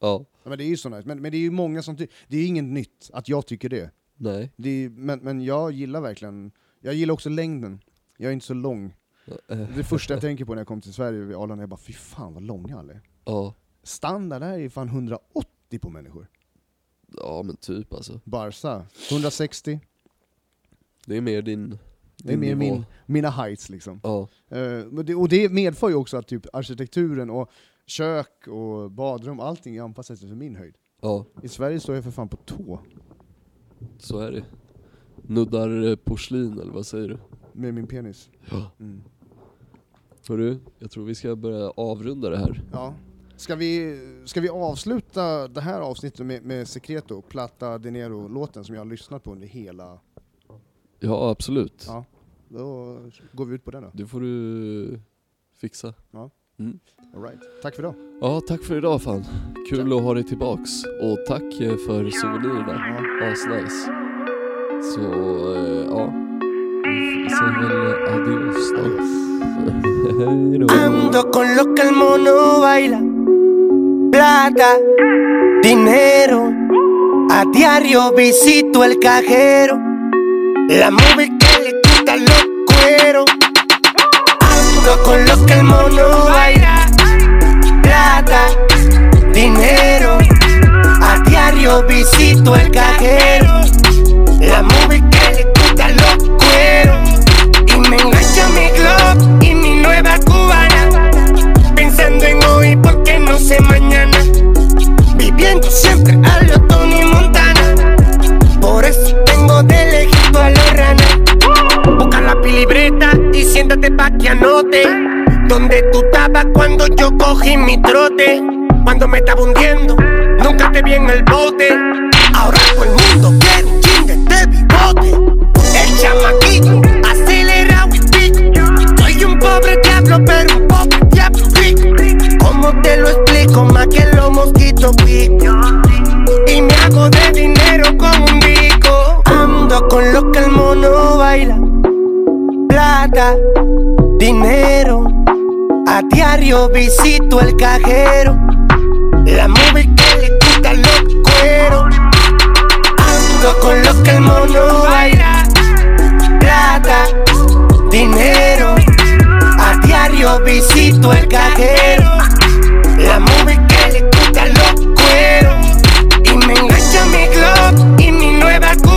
A: Ja,
B: Ja, men det är ju så nice, men, men det är ju många som tycker, det är ju inget nytt att jag tycker det.
A: nej.
B: det är, men, men jag gillar verkligen, jag gillar också längden. Jag är inte så lång.
A: eh,
B: Det första jag tänker på när jag kom till Sverige vid Arlanda, jag bara fy fan vad långa alla är.
A: Ja,
B: Standard här är ju fan 180 på människor.
A: ja men typ alltså.
B: Barca, 160.
A: Det är mer din, din
B: Det är mer
A: nivå.
B: min, mina heights liksom.
A: Ja,
B: Eh, men det, och det medför ju också att typ arkitekturen och kök och badrum, allting är anpassat efter min höjd.
A: ja,
B: I Sverige står jag för fan på tå
A: så är det. Nuddar eh, porslin eller vad säger du?
B: med min penis.
A: Ja.
B: Mm.
A: Hörru, jag tror vi ska börja avrunda det här.
B: Ja. Ska, vi, ska vi avsluta det här avsnittet med, med Secreto, Plata Dinero-låten som jag har lyssnat på under hela...
A: Ja, absolut.
B: Ja. Då går vi ut på den då.
A: Det får du fixa.
B: All right. Tack för idag.
A: Ja, tack för idag fan. Kul att ha dig tillbaks. Och tack eh, för souvenirerna.
B: Ja.
A: Asnice. Så, eh, ja. Vi säger väl adios då. Hej då.
D: Ando con lo que el mono baila. Plata, dinero. A diario visito el cajero. La movie que le quita los cueros. Ando con lo que el mono baila. Plata, dinero. A diario visito el cajero. La movie que le quita los cueros. Y me engancha mi Glock y mi nueva cubana. Pensando en hoy porque no sé mañana. Viviendo siempre a lo Tony Montana. Por eso tengo de lejito a los ranas. Busca la pilibreta y siéntate pa' que anote. Donde tú estabas cuando yo cogí mi trote. Cuando me estaba hundiendo, nunca te vi en el bote. Ahora todo el mundo quiere un chin de este bigote. El chamaquito, acelerado y pico. Soy un pobre diablo, pero un pobre diablo rico. ¿Cómo te lo explico? Más que los mosquitos pico. Y me hago de dinero con un bico. Ando con lo que el mono baila. Plata, dinero. A diario visito el cajero. La movie que le quita los cueros. Ando con lo que el mono baila. Plata, dinero. A diario visito el cajero. La movie que le quita los cueros. Y me engancha mi Glock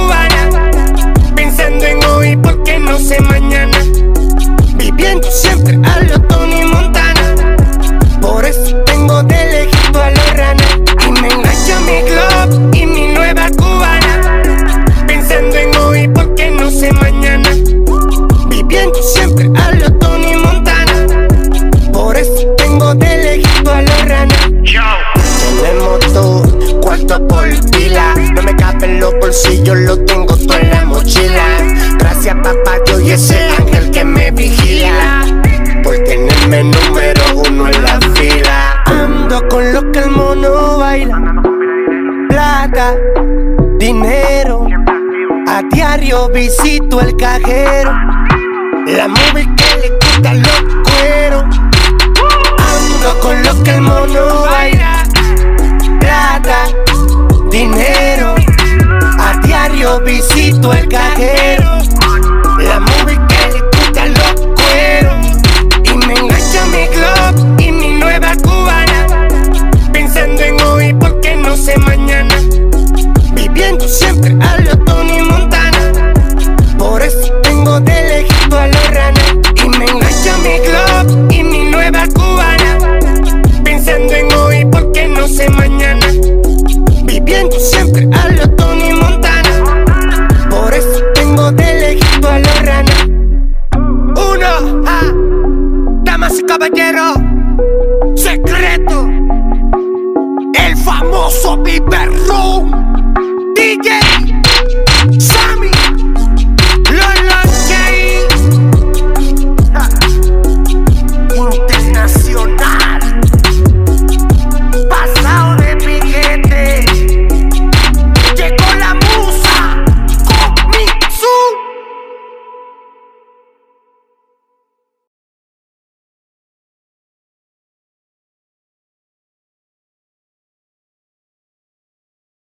D: yo lo tengo todo en la mochila. Gracias papá, yo y ese ángel que me vigila. Por tenerme número uno en la fila. Ando con lo que el mono baila. Plata, dinero. A diario visito el cajero. La móvil que le quita los cueros. Ando con lo que el mono baila. Plata, dinero. A diario visito el cajero. La móvil que le quita los cueros. Y me engancha mi Glock y mi nueva cubana. Pensando en hoy porque no sé mañana. Viviendo siempre a lo Tony Montana. Por eso tengo de lejito a los ranas. Y me engancha mi Glock y mi nueva cubana. Pensando en hoy porque no sé mañana. Viviendo siempre a lo Tony Montana. Por eso tengo de lejito a los ranas. Uno, ah, damas y caballeros, secreto, el famoso Viper Room.